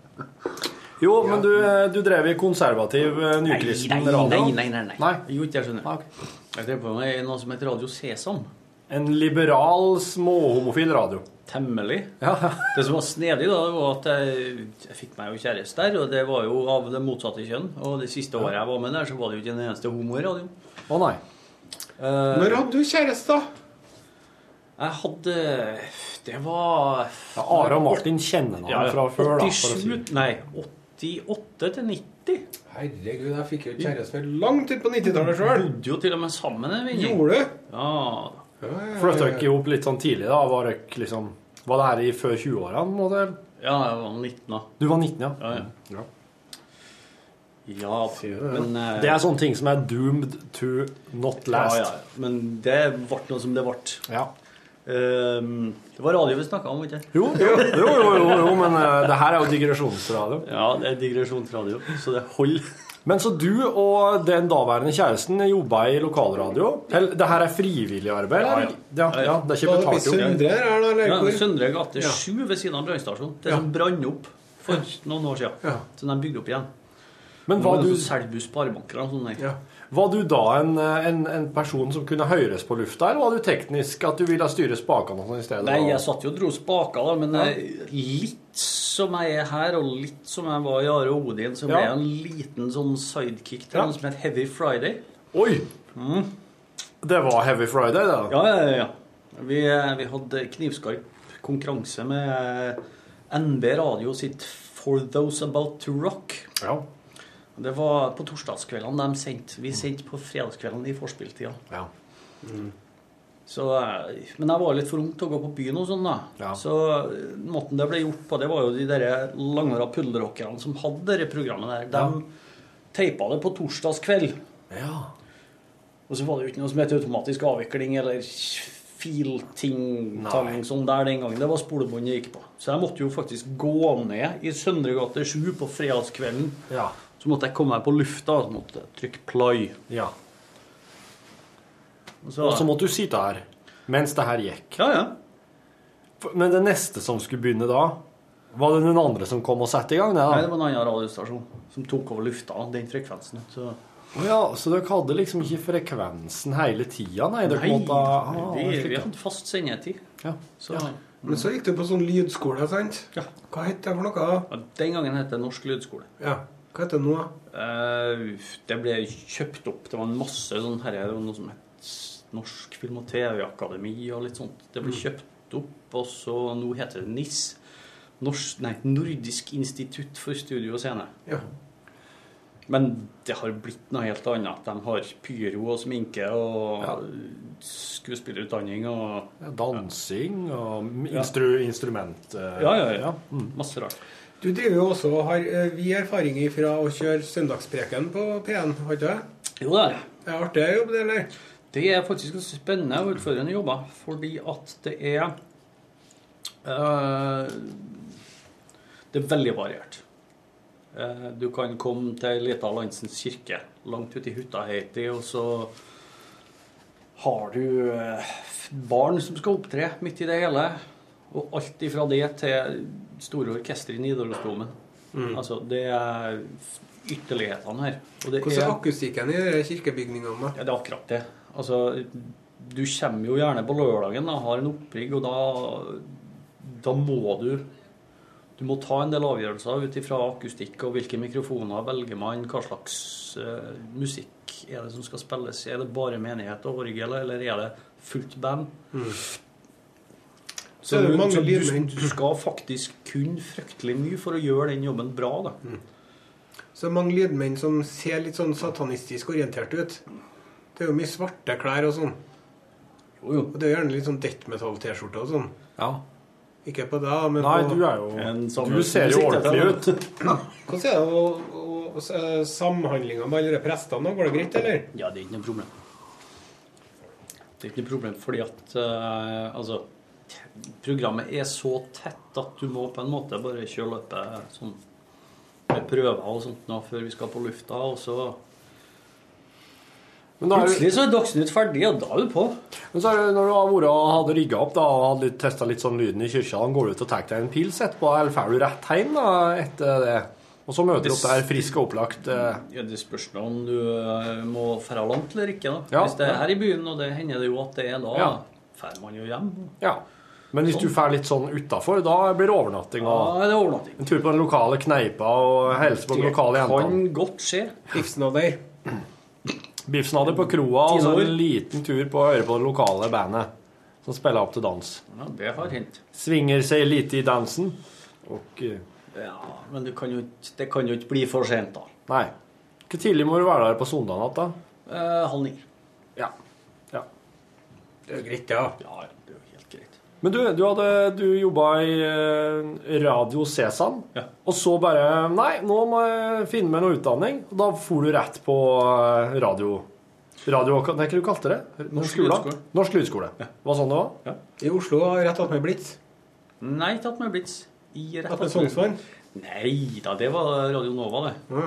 D: Jo, men du, du drev i konservativ, eh,
L: Nei, nei,
D: nykristen
L: nei,
D: radio.
L: nei, nei, Ah, nei.
D: Nei.
L: Jeg gjorde ikke det, skjønner du. Jeg drev på med noe som heter Radio Sesam.
D: En liberal, småhomofil radio.
L: Temmelig.
D: Ja,
L: Det som var snedig, da, det var at jeg, jeg fikk meg jo kjæreste der, og det var jo av det motsatte kjønn. Og det siste året jeg var med der, så var det jo ikke en eneste homo i radioen.
D: Å nei. Eh,
B: Når hadde du kjæreste, da?
L: Jeg hadde Det var
D: ja, Are og Martin kjenner han
L: ja,
D: fra før, da. For å si.
L: 87 Nei, 88 til 90.
B: Herregud, jeg fikk jo kjæreste for langt ut på 90-tallet sjøl.
L: Bodde jo til og med sammen en vinning.
B: Gjorde du?
L: Ja.
D: Flytta dere ihop litt sånn tidlig, da? Var, dere liksom, var det her i før 20-årene? på en måte?
L: ja, jeg var 19 da.
D: Du var 19, ja.
L: Ja,
D: Ja.
L: ja. Ja, men eh,
D: Det er sånne ting som er doomed to not
L: ja,
D: last.
L: ja, Men det ble noe som det ble.
D: Ja.
B: Ehm, det var radio vi snakka om, ikke
D: Jo, jo, jo, jo, jo, jo men eh, det her er jo digresjonsradio.
B: Ja, det er digresjonsradio, så det holder.
D: Men så du og den daværende kjæresten jobba i lokalradio? Eller, det her er frivillig arbeid?
B: Ja, ja.
D: eller? ja. ja, det er ikke betalt jo.
B: Ja, Søndre gate 7 ved siden av brannstasjonen. Det som brant opp for noen år siden. Så de bygde opp igjen.
D: Men
B: Nå er
D: var
B: det
D: du-
B: sånn Selbu sparebanker og sånn der.
D: Ja. Var du da en, en, en person som kunne høres på lufta, eller var du teknisk at du ville styre spakene og sånn i stedet?
B: Nei, jeg satt jo og dro spaker, da, men eh, litt som jeg er her, og litt som jeg var i Are Odin, så ble
D: Ja.
B: jeg en liten sånn sidekick til
D: Ja.
B: noe som het Heavy Friday.
D: Oi!
B: Mm.
D: Det var Heavy Friday, det? da?
B: Ja, ja, ja, ja. Vi, eh, vi hadde knivskarp konkurranse med eh, NB Radio sitt For Those About To Rock.
D: Ja.
B: Det var på torsdagskveldene de sendte. Vi sendte på fredagskveldene i forspilltida.
D: Ja.
B: Så, eh, men jeg var litt for ung til å gå på byen og sånn, da. Så eh, måten det ble gjort på, det var jo de derre langhåra puddelrockerne som hadde det programmet der. De teipa det på torsdagskveld. Og så var det jo ikke noe som het automatisk avvikling eller filting tang sånn der den gangen. Det var spolebånd jeg gikk på. Så jeg måtte jo faktisk gå ned i Søndre gate 7 på fredagskvelden.
D: Ja.
B: Så måtte jeg komme meg på lufta og så måtte jeg trykke play.
D: Ja.
B: Og
D: Og så måtte du sitte her mens det her gikk.
B: Ja, ja.
D: Men det neste som skulle begynne da, var det den andre som kom og satte i gang? Det, da?
B: Nei, det var en annen radiostasjon som tok over lufta, den frekvensen. Så
D: Å ja, så dere hadde liksom ikke frekvensen hele tida? Nei, dere
B: Nei,
D: måtte ah,
B: vi,
D: slik,
B: vi
D: ja.
B: hadde fast sendetid. Så,
E: Men så gikk du på sånn lydskole, sant? Hva het det for noe?
B: Ja, Den gangen het det Norsk lydskole.
E: Ja. Hva heter det nå?
B: Eh, det ble kjøpt opp. Det var en masse sånn her, det var noe som het Norsk film- og TV-akademi og litt sånt. Det
E: Mm.
B: ble kjøpt opp, og så nå heter det NIS. Norsk, nei, Nordisk institutt for studio og scene.
E: Ja.
B: Men det har blitt noe helt annet. De har pyro og sminke og skuespillerutdanning og
D: Ja, Dansing og instru, instrument eh,
B: Ja, ja, ja. Masse rart.
E: Mm. Du driver jo også og har eh, vi erfaring fra å kjøre søndagspreken på P1, har ikke du?
B: Jo, det er det.
E: Det er artig jobb, det, eller?
B: Det er faktisk ganske spennende og utfordrende jobber, fordi at det er eh, Det er veldig variert. Eh, du kan komme til Lita Landsens kirke langt ute i Huttaheiti, og så har du eh, barn som skal opptre midt i det hele. Og alt ifra det til store orkestre i Nidarosdomen.
E: Mm.
B: Altså, det er ytterlighetene her. Og det
E: Hvordan
B: er-
E: er akustikken i de kirkebygningene? da?
B: ja, det er akkurat det. Altså, du kommer jo gjerne på lørdagen og har en opprigg, og da, da må du Du må ta en del avgjørelser ut ifra akustikk og hvilke mikrofoner velger man, hva slags eh, musikk er det som skal spilles. Er det bare menighet og orgel, eller er det fullt band?
E: Så er det
B: du-
E: mange
B: du,
E: lydmenn.
B: du skal faktisk kunne fryktelig mye for å gjøre den jobben bra, da.
E: Så er det mange lydmenn som ser litt sånn satanistisk orientert ut. Det er jo mye svarte klær og sånn.
B: Og
E: det er jo gjerne litt sånn death metal-T-skjorte og sånn. Ikke på deg, men
D: Nei,
E: på
D: du er jo-
B: En
D: sånn- du ser jo ordentlig ut.
E: Hvordan er det å, å, å, eh, samhandlinga med alle de prestene? da? Går det greit, eller?
B: Ja, det er ikke noe problem. Det er ikke noe problem fordi at eh, altså, programmet er så tett at du må på en måte bare kjøre løpet sånn, med prøver og sånt nå, før vi skal på lufta, og så
D: Men da er du-
B: Plutselig så er Dagsnytt ferdig, og da er du på.
D: Men så er det når du har vært og hadde rigga opp da, og hadde testa litt sånn lyden i kirka, da går du ut og tar deg en pils etterpå, eller drar du rett hjem da, etter det? Og så møter du opp der frisk og opplagt. eh.
B: Ja, det spørs nå om du eh, må dra langt eller ikke. da.
D: Ja.
B: Hvis det er her i byen, og det hender det jo at det er da,
D: Ja.
B: drar man jo hjem.
D: Ja. Men hvis du drar litt sånn utafor, da blir det overnatting. Og
B: Ja, det er overnatting.
D: En tur på den lokale kneipa og helse på den lokale jenta.
B: kan godt skje.
E: Biffsnadder.
D: Biffsnadder på kroa, og så
B: Tinnor.
D: en liten tur på å høre på det lokale bandet som spiller opp til dans.
B: Ja, det har hendt.
D: Svinger seg litt i dansen. Og eh,
B: Ja, men du kan jo, ikke- det kan jo ikke bli for sent, da.
D: Nei. Hvor tidlig må du være der på søndag natt, da?
B: Eh, halv ni.
D: Ja. Ja.
E: Det er jo greit, ja.
B: Ja, det er jo helt greit.
D: Men du, du, hadde, du jobba i eh, Radio Sesam, og så bare Nei, nå må jeg finne meg noe utdanning. Og da for du rett på eh, radio. Radio Nei, hva du kalte det? Norsk Lydskole. Norsk Lydskole. Var sånn det var?
B: I Oslo har jeg tatt med Blitz.
L: Nei, tatt med Blitz. I rett
B: Tatt med
L: attmed-
B: Sognsvann?
L: Nei da, det var Radio Nova, det.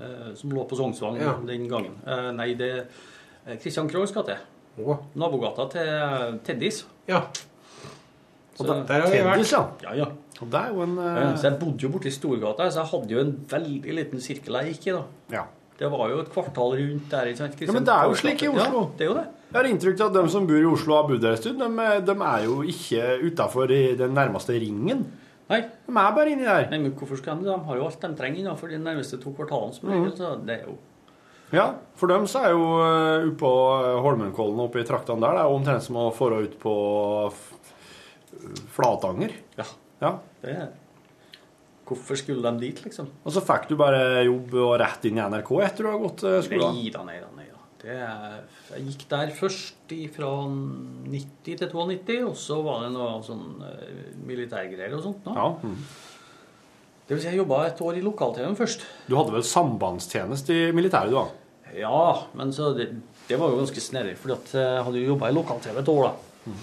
L: Eh, Som lå på Sognsvann
B: Ja.
L: den gangen. Eh, Nei, det eh, Christian Krohgs gate.
B: Å.
L: Nabogata til Teddys.
B: Ja.
L: Så,
B: der- der har vi vært. Teddys, ja.
L: ja, ja. Eh, Så jeg bodde jo borte i Storgata, så jeg hadde jo en veldig liten sirkel jeg gikk i, da. Det var jo et kvartal rundt der. Ikke sant?
D: Ja, men det er jo
L: Christian
D: slik i
L: Krohgs gate.
D: Oslo.
L: Ja, det er jo det.
D: Jeg har inntrykk av at de som bor i Oslo og har bodd der en stund, de, de er jo ikke utafor den nærmeste ringen.
L: Nei.
D: De er bare inni der.
L: Nei, men hvorfor skal de det? De har jo alt de trenger innenfor de nærmeste to kvartalene. som
D: Mhm.
L: regel, så det er jo
D: Ja, for dem så er jo eh, oppå eh, Holmenkollen oppe i traktene der, det er jo omtrent som å få ut på f- Flatanger.
L: Ja.
D: ja.
L: det er. Hvorfor skulle de dit, liksom?
D: Og så fikk du bare jobb og rett inn i NRK etter du har gått eh, skolen.
L: Nei da, nei da. Nei, da. Det er, jeg gikk der først fra 90 til 92, og så var det noe sånn eh, militærgreier og sånt. nå.
D: Ja. mhm.
L: Det vil si, jeg jobba et år i lokal-TV-en først.
D: Du hadde vel sambandstjeneste i militæret, du da?
L: Ja, men så det, det var jo ganske snedig, fordi at jeg hadde jo jobba i lokal-TV et år, da.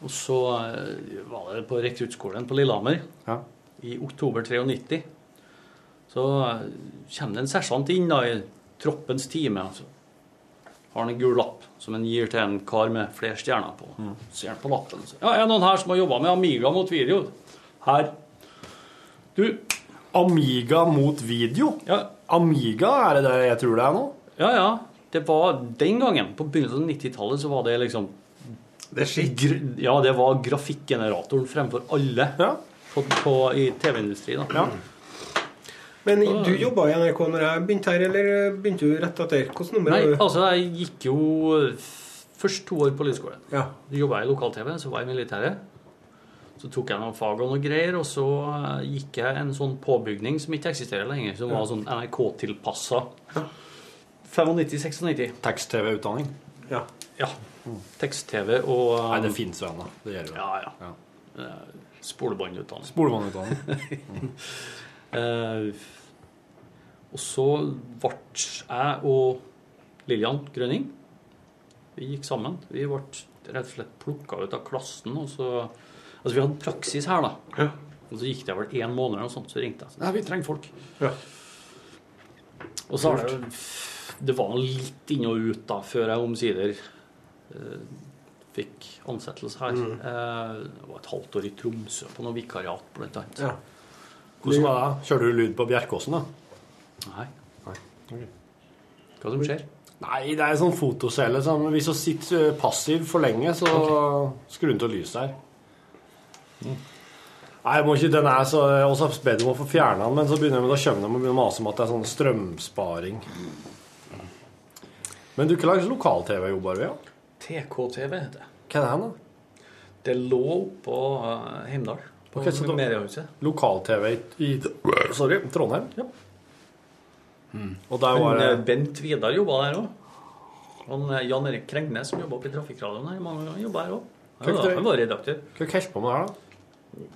L: Og så eh, var det på rekruttskolen på Lillehammer i oktober 93. Så eh, kommer det en sersjant inn da i troppens time. Altså. Har han en gul lapp som han gir til en kar med flere stjerner på. Ser han på lappen så, Ja, er det noen her som har jobba med Amiga mot video? Her. Du
D: Amiga mot video? Amiga er det det jeg tror det er nå?
L: Ja, ja. Det var den gangen, på begynnelsen av 90-tallet, så var det liksom det gr Ja, det var grafikkgeneratoren fremfor alle på, på, i TV-industrien. da.
B: Men du jobba i NRK når jeg begynte her, eller eh, begynte du rett etter? Hvilket nummer
L: Nei,
B: var du?
L: altså, jeg gikk jo f- først to år på lydskolen.
B: Ja.
L: Jobba i lokal-TV, så var jeg i militæret. Så tok jeg noen fag og noe greier, og så eh, gikk jeg en sånn påbygning som ikke eksisterer lenger, som var sånn NRK-tilpassa. 95-96.
D: Tekst-TV-utdanning?
B: Ja.
L: ja. Tekst-TV og
D: Mm. Nei, det fins jo ennå. Det gjør jo det.
L: Ja, ja. Eh, Spolebåndutdanning.
D: Spolebåndutdanning.
L: Eh, og så ble jeg og Lillian Grønning Vi gikk sammen. Vi ble rett og slett plukka ut av klassen. Og så, altså vi hadde praksis her, da. Og så gikk det vel én måned, eller noe sånt, så ringte jeg. Nei, vi trenger folk. Og så har det Det var litt inn og ut, da, før jeg omsider eh, fikk ansettelse her. Eh, det var et halvt år i Tromsø på noe vikariat, blant annet.
D: Ja. Hvordan var det? Kjører du lyd på Bjerkåsen, da?
L: Nei. Hva som skjer?
D: Nei, det er en sånn fotocelle som Hvis du sitter eh, passiv for lenge, så skrur den til lyset her. Nei, jeg må ikke, den er så Og så ber de om å få fjerna den, men så begynner de, da kommer de og begynner å mase om at det er sånn strømsparing. Men du, hva slags lokal-TV jobber vi av?
L: TKTV heter det.
D: Hva er det her, da?
L: Det lå oppå eh, Heimdal. På
D: Ok, så da-
L: Mediehuset.
D: Lokal-TV i, i sorry, Trondheim?
L: Ja.
D: Og der var
L: Men,
D: det
L: eh, Bent Vidar jobba der òg. Jan Erik Krengnes, som jobba oppe i Trafikkradioen her i mange ganger, jobba her òg. Han
D: Hva
L: var-
D: heter-
L: han var redaktør.
D: Hva holdt du på med her, da?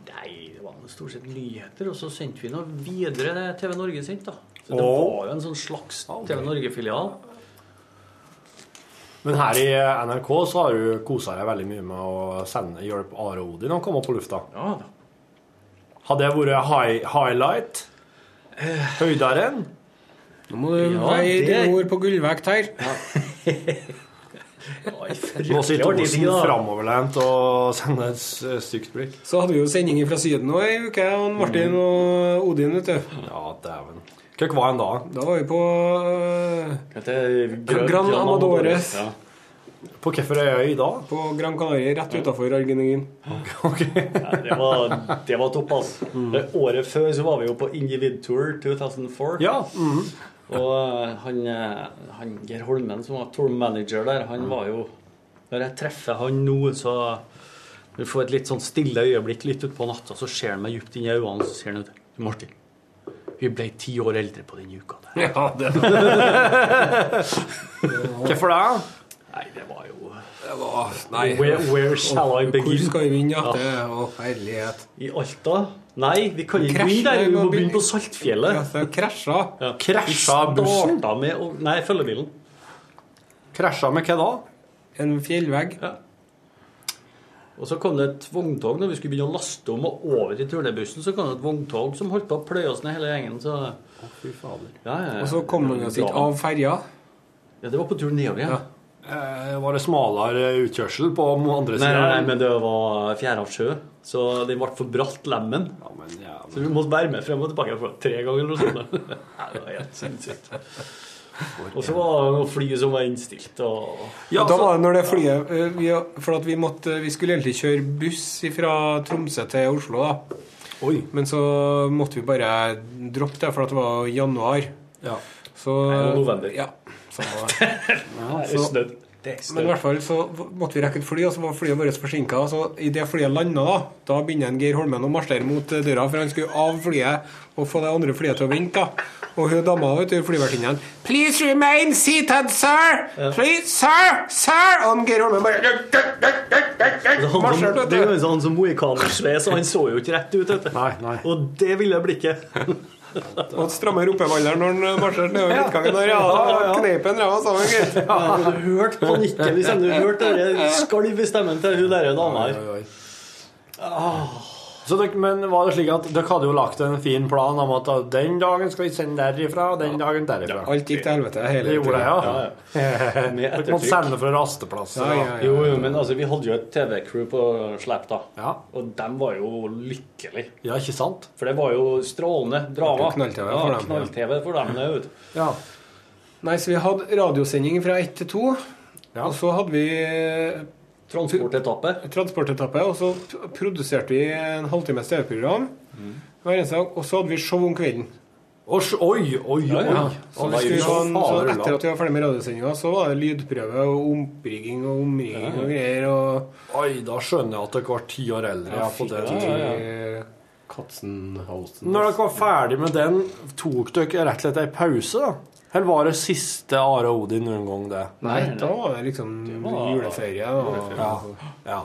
L: Nei, det var stort sett nyheter. Og så sendte vi noe videre det TV Norge sendte, da. Så det
D: Åh.
L: var jo en sånn slags TV Norge-filial.
D: Men her i NRK så har du kosa deg veldig mye med å sende, hjelpe Are Odin å komme opp på lufta.
L: Ja da.
D: Har det vært high, highlight?
L: Eh.
D: Høydaren?
B: Nå må du veie dine ord på gullvekt her.
D: Nå
B: artig
D: sitter Osen
B: tid, da.
D: framoverlent og sender et s- stygt blikk.
B: Så hadde vi jo sending fra Syden nå i uke, han Martin og Odin, vet du.
D: Ja, dæven. Hva var han da?
B: Da var vi på øh,
L: Gran-
B: Gran
L: Gran
B: Amadores.
L: Amadores, ja.
D: På hvilken øy i dag?
B: På Gran Canaria, rett utafor Argentin.
L: Nei, det, var, det var topp, altså.
D: Mm.
L: Det Året før så var vi jo på Individ Tour 2004.
D: mm.
L: Og eh, han, eh, han Geir Holmen, som var tour manager der,
D: Mm.
L: han var jo Når jeg treffer han nå, så Du får et litt sånn stille øyeblikk litt utpå natta, så ser han meg dypt inn i øynene, og så sier han ut Du, Martin, vi ble ti år eldre på den uka der.
D: Ja, det Hvorfor det?
L: Nei, det var jo
B: Det var Nei.
L: Where, where shall I begin?
B: Hvor skal vi begynne? Ja. Det var herlighet.
L: I Alta? Nei, vi kan ikke begynne der. Vi må begynne på Saltfjellet.
B: Ja, så krasja.
L: Ja.
D: Krasja
L: Vi
D: bussen?
L: starta med å Nei, følgebilen.
D: Krasja med hva da?
B: En fjellvegg.
L: Ja. Og så kom det et vogntog når vi skulle begynne å laste om og over i turnebussen. Så kom det et vogntog som holdt på å pløye oss ned hele gjengen. Så... Ja, ja, ja.
B: Og så kom man oss ikke av ferja.
L: Ja, det var på tur nedover igjen.
D: Eh, var det smalere utkjørsel på den andre
L: Nei,
D: siden?
L: nei, nei, men det var fjerde av sjø, så den ble for bratt, lemmen. Så vi måtte bære med frem og tilbake for tre ganger eller noe sånt. Nei, det var helt sinnssykt. Og så var det noe fly som var innstilt. Og...
B: Og da var det når det flyet eh, vi, For at vi, måtte, vi skulle egentlig kjøre buss fra Tromsø til Oslo, da. Men så måtte vi bare droppe det, for at det var januar.
D: Ja.
B: Så,
L: Nei, det var november.
B: Ja, samme det.
L: det er
B: Så-
L: snødd. Det er snødd.
B: Men i hvert fall så måtte vi rekke et fly, og så var flyet vårt forsinka. Så i det flyet landa, da, da begynner en Geir Holmen å marsjere mot eh, døra, for han skulle av flyet og få det andre flyet til å vente. da. Og hun dama, vet du, flyvertinnen Please remain seated, sir! Please, sir! Sir! Og en Geir Holmen
L: Det er
B: bare
L: han som,
B: marsjerte,
L: det er
B: vet
L: jo
B: du.
L: sånn som mohikanersveis, og han så jo ikke rett ut. Vet du. Og det ville blikket.
B: Og strammer rumpeballeren når han marsjerte nedover midtgangen der. Ja, da kneip han ræva sammen, gitt.
L: Du hørte panikken i stemmen. Du hørte det skalv i stemmen til hun der dama her.
D: Ah. Så dere, men var det slik at dere hadde jo lagt en fin plan om at den dagen skal vi sende derifra, og den dagen derifra?
B: Alt gikk til helvete hele
D: Det gjorde det,
B: tiden.
D: ja.
L: Med
D: Dere
L: ettertrykk.
D: måtte sende fra rasteplasser. da.
L: Jo, jo, men altså, vi hadde jo et TV-crew på Slap, da. Og dem var jo lykkelig.
D: Ja, ikke sant?
L: For det var jo strålende
B: Det
L: drama.
B: var knall-TV
L: Ja,
B: for dem.
L: knall-TV for dem. det, vet du.
B: Nei, så vi hadde radiosending fra 1 til 2. Og så hadde vi
L: Transportetappe.
B: Transportetappe, Og så p- produserte vi en halvtimes TV-program hver eneste dag. Og så hadde vi show om kvelden.
D: oi, oi, oi!
B: Så,
D: Oi,
B: vi skulle ha en, så
D: fader, da.
B: etter at vi var ferdig med radiosendinga, så var det lydprøve og omprigging og omrigging
D: Ja.
B: og greier. Og
D: Oi, da skjønner jeg at dere var ti år eldre. Ja, på det.
B: fikk
D: tidspunktet.
B: Katzenhausen
D: Når dere var ferdig med den, tok dere rett og slett ei pause, da? Eller var det siste Are og Odin noen gang, det?
B: Nei, da var det liksom juleferie. Og,
D: Ja. ja.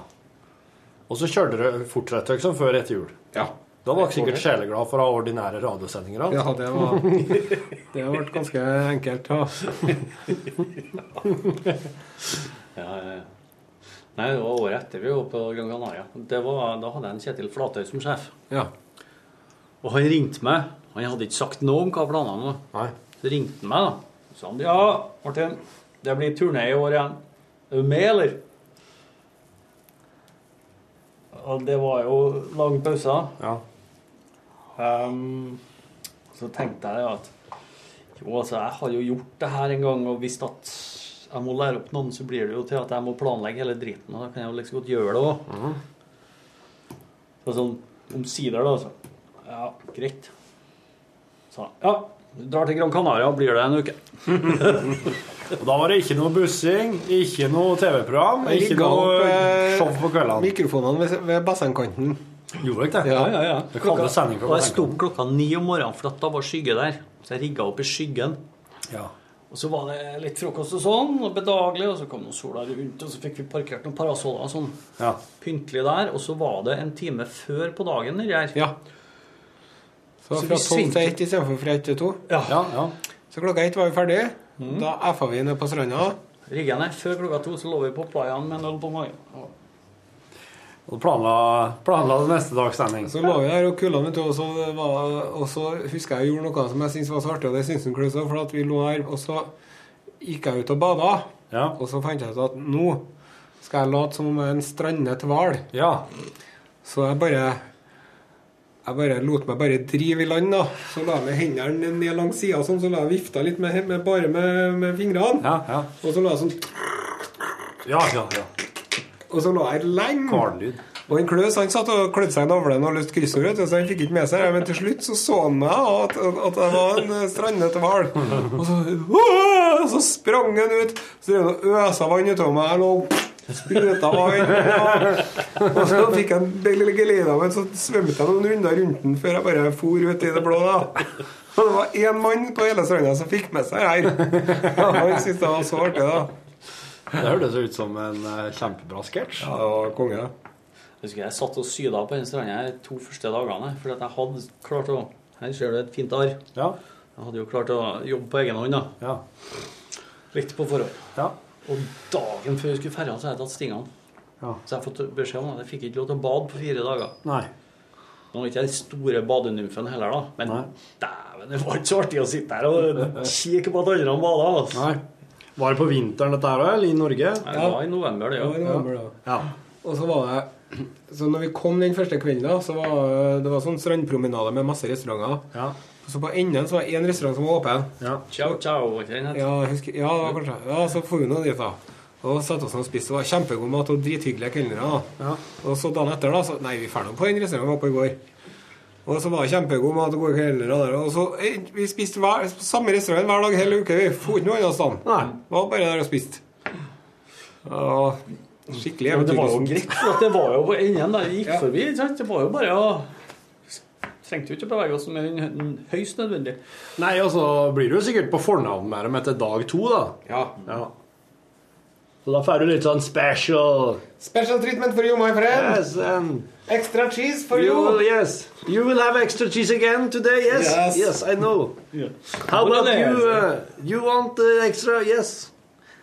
D: Og så kjørte dere fortsatte dere som før etter jul?
B: Ja.
D: Da var dere sikkert sjeleglad for å ha ordinære radiosendinger? alt.
B: Ja, det var Det ble ganske enkelt. Ja.
L: Ja, ja, ja. Nei, det var året etter vi var på Gran Canaria. Det var, da hadde jeg en Kjetil Flatøy som sjef. Og han ringte meg. Han hadde ikke sagt noe om hva planene var. Så ringte han meg, da. Så sa han ja, Martin, det blir turné i år igjen. Er du med, eller? Og det var jo lang pause.
D: Ja.
L: Ehm, så tenkte jeg at jo, altså, jeg har jo gjort det her en gang, og hvis at jeg må lære opp noen, så blir det jo til at jeg må planlegge hele driten, og da kan jeg jo liksom godt gjøre det òg. Så sånn omsider, da, så Ja, greit. Så ja, du drar til Gran Canaria, blir det en uke.
D: Og da var det ikke noe bussing, ikke noe TV-program,
B: Jeg
D: ikke
B: rigga opp,
D: noe
B: eh,
D: show på kveldene.
B: Mikrofonene ved, ved bassengkanten.
D: Gjorde dere det?
B: Ja,
L: ja, ja.
D: Det kaller sending
L: Og
D: fra
L: jeg sto opp klokka ni om morgenen, for at da var skygge der. Så jeg rigga opp i skyggen.
D: Ja.
L: Og så var det litt frokost og sånn, og bedagelig, og så kom noen sola rundt, og så fikk vi parkert noen parasoller og sånn.
D: Ja.
L: Pyntelig der. Og så var det en time før på dagen nedi her.
B: Så,
L: Så vi
B: fra 12 til
L: svingte-
B: 1 istedenfor fra 1 til 2.
L: Ja.
B: Så klokka 1 var vi ferdig. Da effa vi ned på stranda.
L: Rigga ned før klokka to, så lå vi på playaen med en øl på magen. Og
D: Og planla, planla det neste dags sending.
B: Så lå vi der og kulda, vet du, og så, var, og så husker jeg jeg gjorde noe som jeg syntes var så artig, og det syntes han Klaus òg, for at vi lå der, og så gikk jeg ut og bada. Og så fant jeg ut at nå skal jeg late som om jeg er en strandet hval. Så jeg bare jeg bare lot meg bare drive i land, da. Så la jeg hendene ned langs sida, sånn, så la jeg vifta litt med, med, bare med, med fingrene. Og så la jeg sånn
D: Ja, ja, ja.
B: Og så lå jeg lenge. Og en Klaus han satt og klødde seg i navlen og løste kryssord, vet du, så han fikk ikke med seg det. Men til slutt så så han meg og at, at jeg var en eh, strandet hval. Og så, «Åh!» så sprang han ut. Så drev han og øsa vann utover meg. Jeg lå og spruta vann. Ja. Og så fikk jeg en lille gelida, men så svømte jeg noen runder rundt den før jeg bare for ut i det blå. da Og det var én mann på hele stranda som fikk med seg det her. Ja, Han syntes det var så artig, da.
D: Det hørtes ut som en eh, kjempebra sketsj.
B: Ja, det var konge, da.
L: Jeg husker jeg satt og syda på den stranda her to første dagene. Fordi at jeg hadde klart å Her ser du et fint arr. Jeg hadde jo klart å jobbe på egen hånd, da. Litt på forhånd. Og dagen før jeg skulle ferja, så har jeg tatt stingene. Så jeg har fått beskjed om at jeg fikk ikke lov til å bade på fire dager.
D: Nei.
L: Nå er ikke jeg den store badenymfen heller, da. Men dæven, det var ikke så artig å sitte her og kikke på at andre bader. Altså.
D: Nei. Var det på vinteren dette her, da? Eller i Norge?
L: Det var i november, det,
B: Det var i november,
L: ja.
B: det, Og så var det Så når vi kom den første kvelden, da, så var det- det var sånn strandpromenade med masse restauranter. Så på enden så var det én restaurant som var åpen.
L: Ciao, ciao, var ikke den het?
B: Ja, jeg husker, ja, det var kanskje Ja, så for vi nå dit, da. Og satte oss ned og spiste. Det var kjempegod mat og drithyggelige kelnere. da. Og så dagen etter, da, så Nei, vi drar nå på den restauranten vi var på i går. Og så var det kjempegod mat og gode kelnere der. Og så eh, Vi spiste hver, samme restaurant hver dag hele uka. Vi dro ikke noe annet sted. Det var bare der og spiste. Ja, Skikkelig
L: Ja, men det var jo
B: eventyrlysten.
L: greit, for at det var jo på enden der. Vi gikk forbi. ikke sant? Det var jo bare å Trengte jo ikke å bevege oss mer enn høyst nødvendig.
D: Nei, og så blir du jo sikkert på fornavn med dem etter dag to, da.
B: Ja.
D: Så da får du litt sånn special.
B: Special treatment for you, my friend.
D: Yes, um,
B: Extra cheese for
D: you,
B: you.
D: will- yes. You will have extra cheese again today, yes?
B: Yes.
D: I know. How
B: What
D: about
B: are they?
D: you? Uh, you want uh, extra? Yes.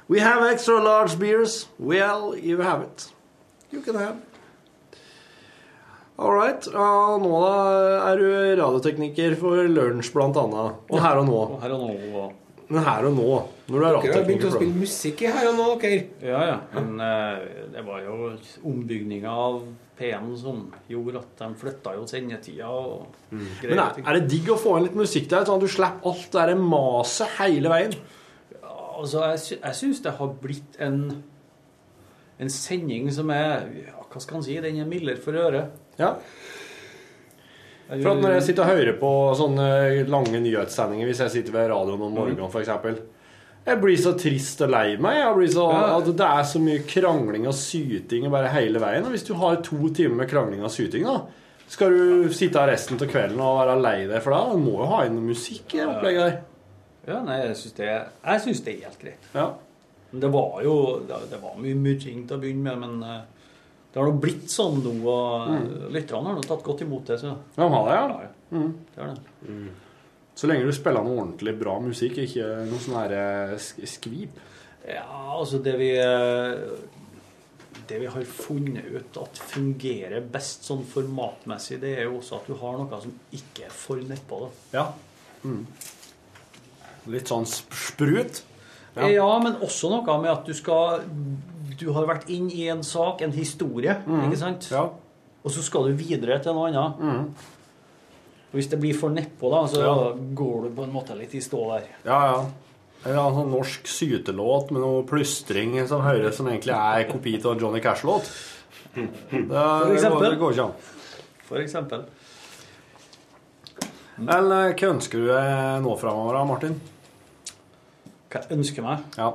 D: We have extra large beers. Well, you have it. You can have. All right. Ja, nå da er du radiotekniker for lunsj, blant annet. Og her og nå.
L: Her og nå.
D: Men her og nå, når du er
B: Dere har begynt
D: radiotekniker
B: å
D: for
B: spille musikk i her og nå, dere.
L: Ja, ja. Men eh, det var jo ombygninga av P1 som gjorde at de flytta jo sendetida og greier.
D: Men er, er det digg å få inn litt musikk der, sånn at du slipper alt det der maset hele veien?
L: Altså, jeg, sy jeg syns det har blitt en en sending som er ja, Hva skal en si? Den er mildere for øret.
D: Ja. For at når jeg sitter og hører på sånne lange nyhetssendinger, hvis jeg sitter ved
L: Mm.
D: radioen om morgenen f.eks. Jeg blir så trist og lei meg. Jeg blir så,
L: Ja.
D: at det er så mye krangling og syting bare hele veien. Og hvis du har to timer med krangling og syting, da, skal du sitte her resten av kvelden og være lei deg for det? Du må jo ha inn noe musikk i det opplegget der.
L: Ja, nei, jeg syns det, jeg synes det er helt greit.
D: Ja.
L: Men Det var jo det, det var mye murring til å begynne med, men eh, det har nå blitt sånn nå. Og
D: Mm.
L: lytterne har nå tatt godt imot det. Så.
D: Ja, ha det,
L: Ja,
D: ja. Mm.
L: det har det.
D: Så lenge du spiller noe ordentlig bra musikk, ikke noe sånn her eh, sk skvip.
L: Ja, altså det vi eh, Det vi har funnet ut at fungerer best sånn formatmessig, det er jo også at du har noe som ikke er for nedpå. da.
D: Ja. Litt sånn sp- sprut.
L: Ja. men også noe med at du skal Du har vært inn i en sak, en historie,
D: Mhm.
L: ikke sant? Og så skal du videre til noe annet.
D: Mhm.
L: Og Hvis det blir for nedpå, da, så
D: Ja.
L: går du på en måte litt i stå der.
D: Ja, ja. En annen sånn norsk sytelåt med noe plystring som høres som egentlig er kopi av en Johnny Cash-låt. Det,
L: For
D: det, går-
L: eksempel.
D: det går ikke an.
L: For eksempel.
D: Eller eh, hva ønsker du deg nå framover, da, Martin?
L: Hva jeg ønsker meg?
D: Ja.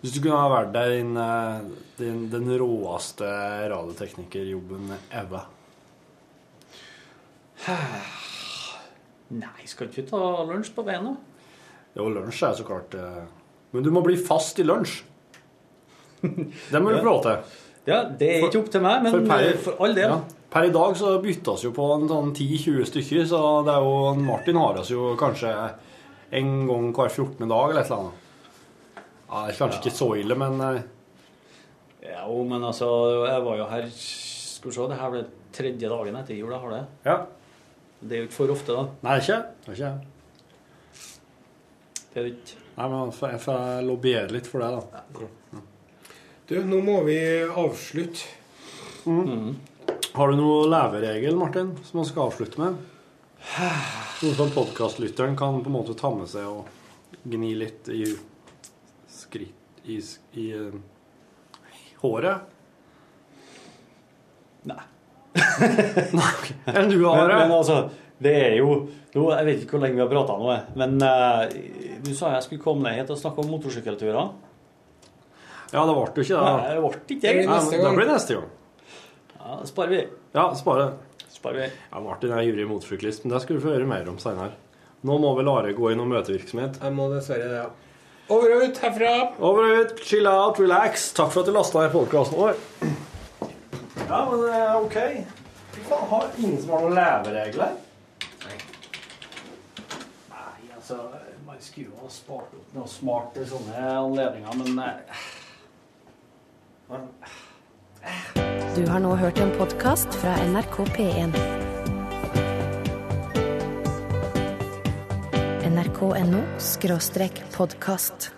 D: Hvis du kunne ha vært der din, eh, din, den råeste radioteknikerjobben ever.
L: Nei, skal ikke vi ta lunsj på veien, da?
D: Jo, lunsj er så klart eh, Men du må bli fast i lunsj. Det må du
L: Ja.
D: få lov til.
L: Ja, det er ikke opp til meg, men
D: for per-
L: eh, for all del.
D: Ja. Per i dag så byttes jo på en sånn 10-20 stykker, så det er jo Martin har oss jo kanskje en gang hver 14. dag eller et eller annet. Ja, det er kanskje ikke så ille, men eh,
L: Ja, jo, men altså, jeg var jo her Skal vi se, det her ble tredje dagen etter jul, jeg har det. Det er jo ikke for ofte, da.
D: Nei, ikke? Det er ikke.
L: Det er jo ikke
D: Nei, men f- jeg får lobbyere litt for det, da.
B: Du, nå må vi avslutte.
D: Har du noen leveregel, Martin, som man skal avslutte med? Noe som podkastlytteren kan på en måte ta med seg og gni litt i skritt i, s- i eh, håret? Nei. Enn du har
L: men,
D: det?
L: men altså, det er jo nå, Jeg vet ikke hvor lenge vi har prata nå, jeg. men eh, du sa jeg skulle komme ned hit og snakke om motorsykkelturer.
D: Ja, det ble jo ikke det. da.
L: Nei, det ble ikke det.
D: Nei, men Det blir neste gang.
L: Ja, det sparer vi.
D: Ja, spare.
L: Sparer vi.
D: Ja, Martin er ivrig motorsyklist, men det skal du få høre mer om seinere. Nå må vel Are gå inn og møte virksomhet.
B: Jeg må dessverre det, ja. Over og ut herfra.
D: Over og ut, chill out, relax. Takk for at du lasta ned podkasten vår. Ja, men det er ok. Fy faen, har ingen som har noen leveregler? Nei, altså. Så man skulle jo ha spart opp noe smart til sånne anledninger, men eh, men
A: Du har nå hørt en podkast fra NRK P1. NRK.no skråstrek podkast.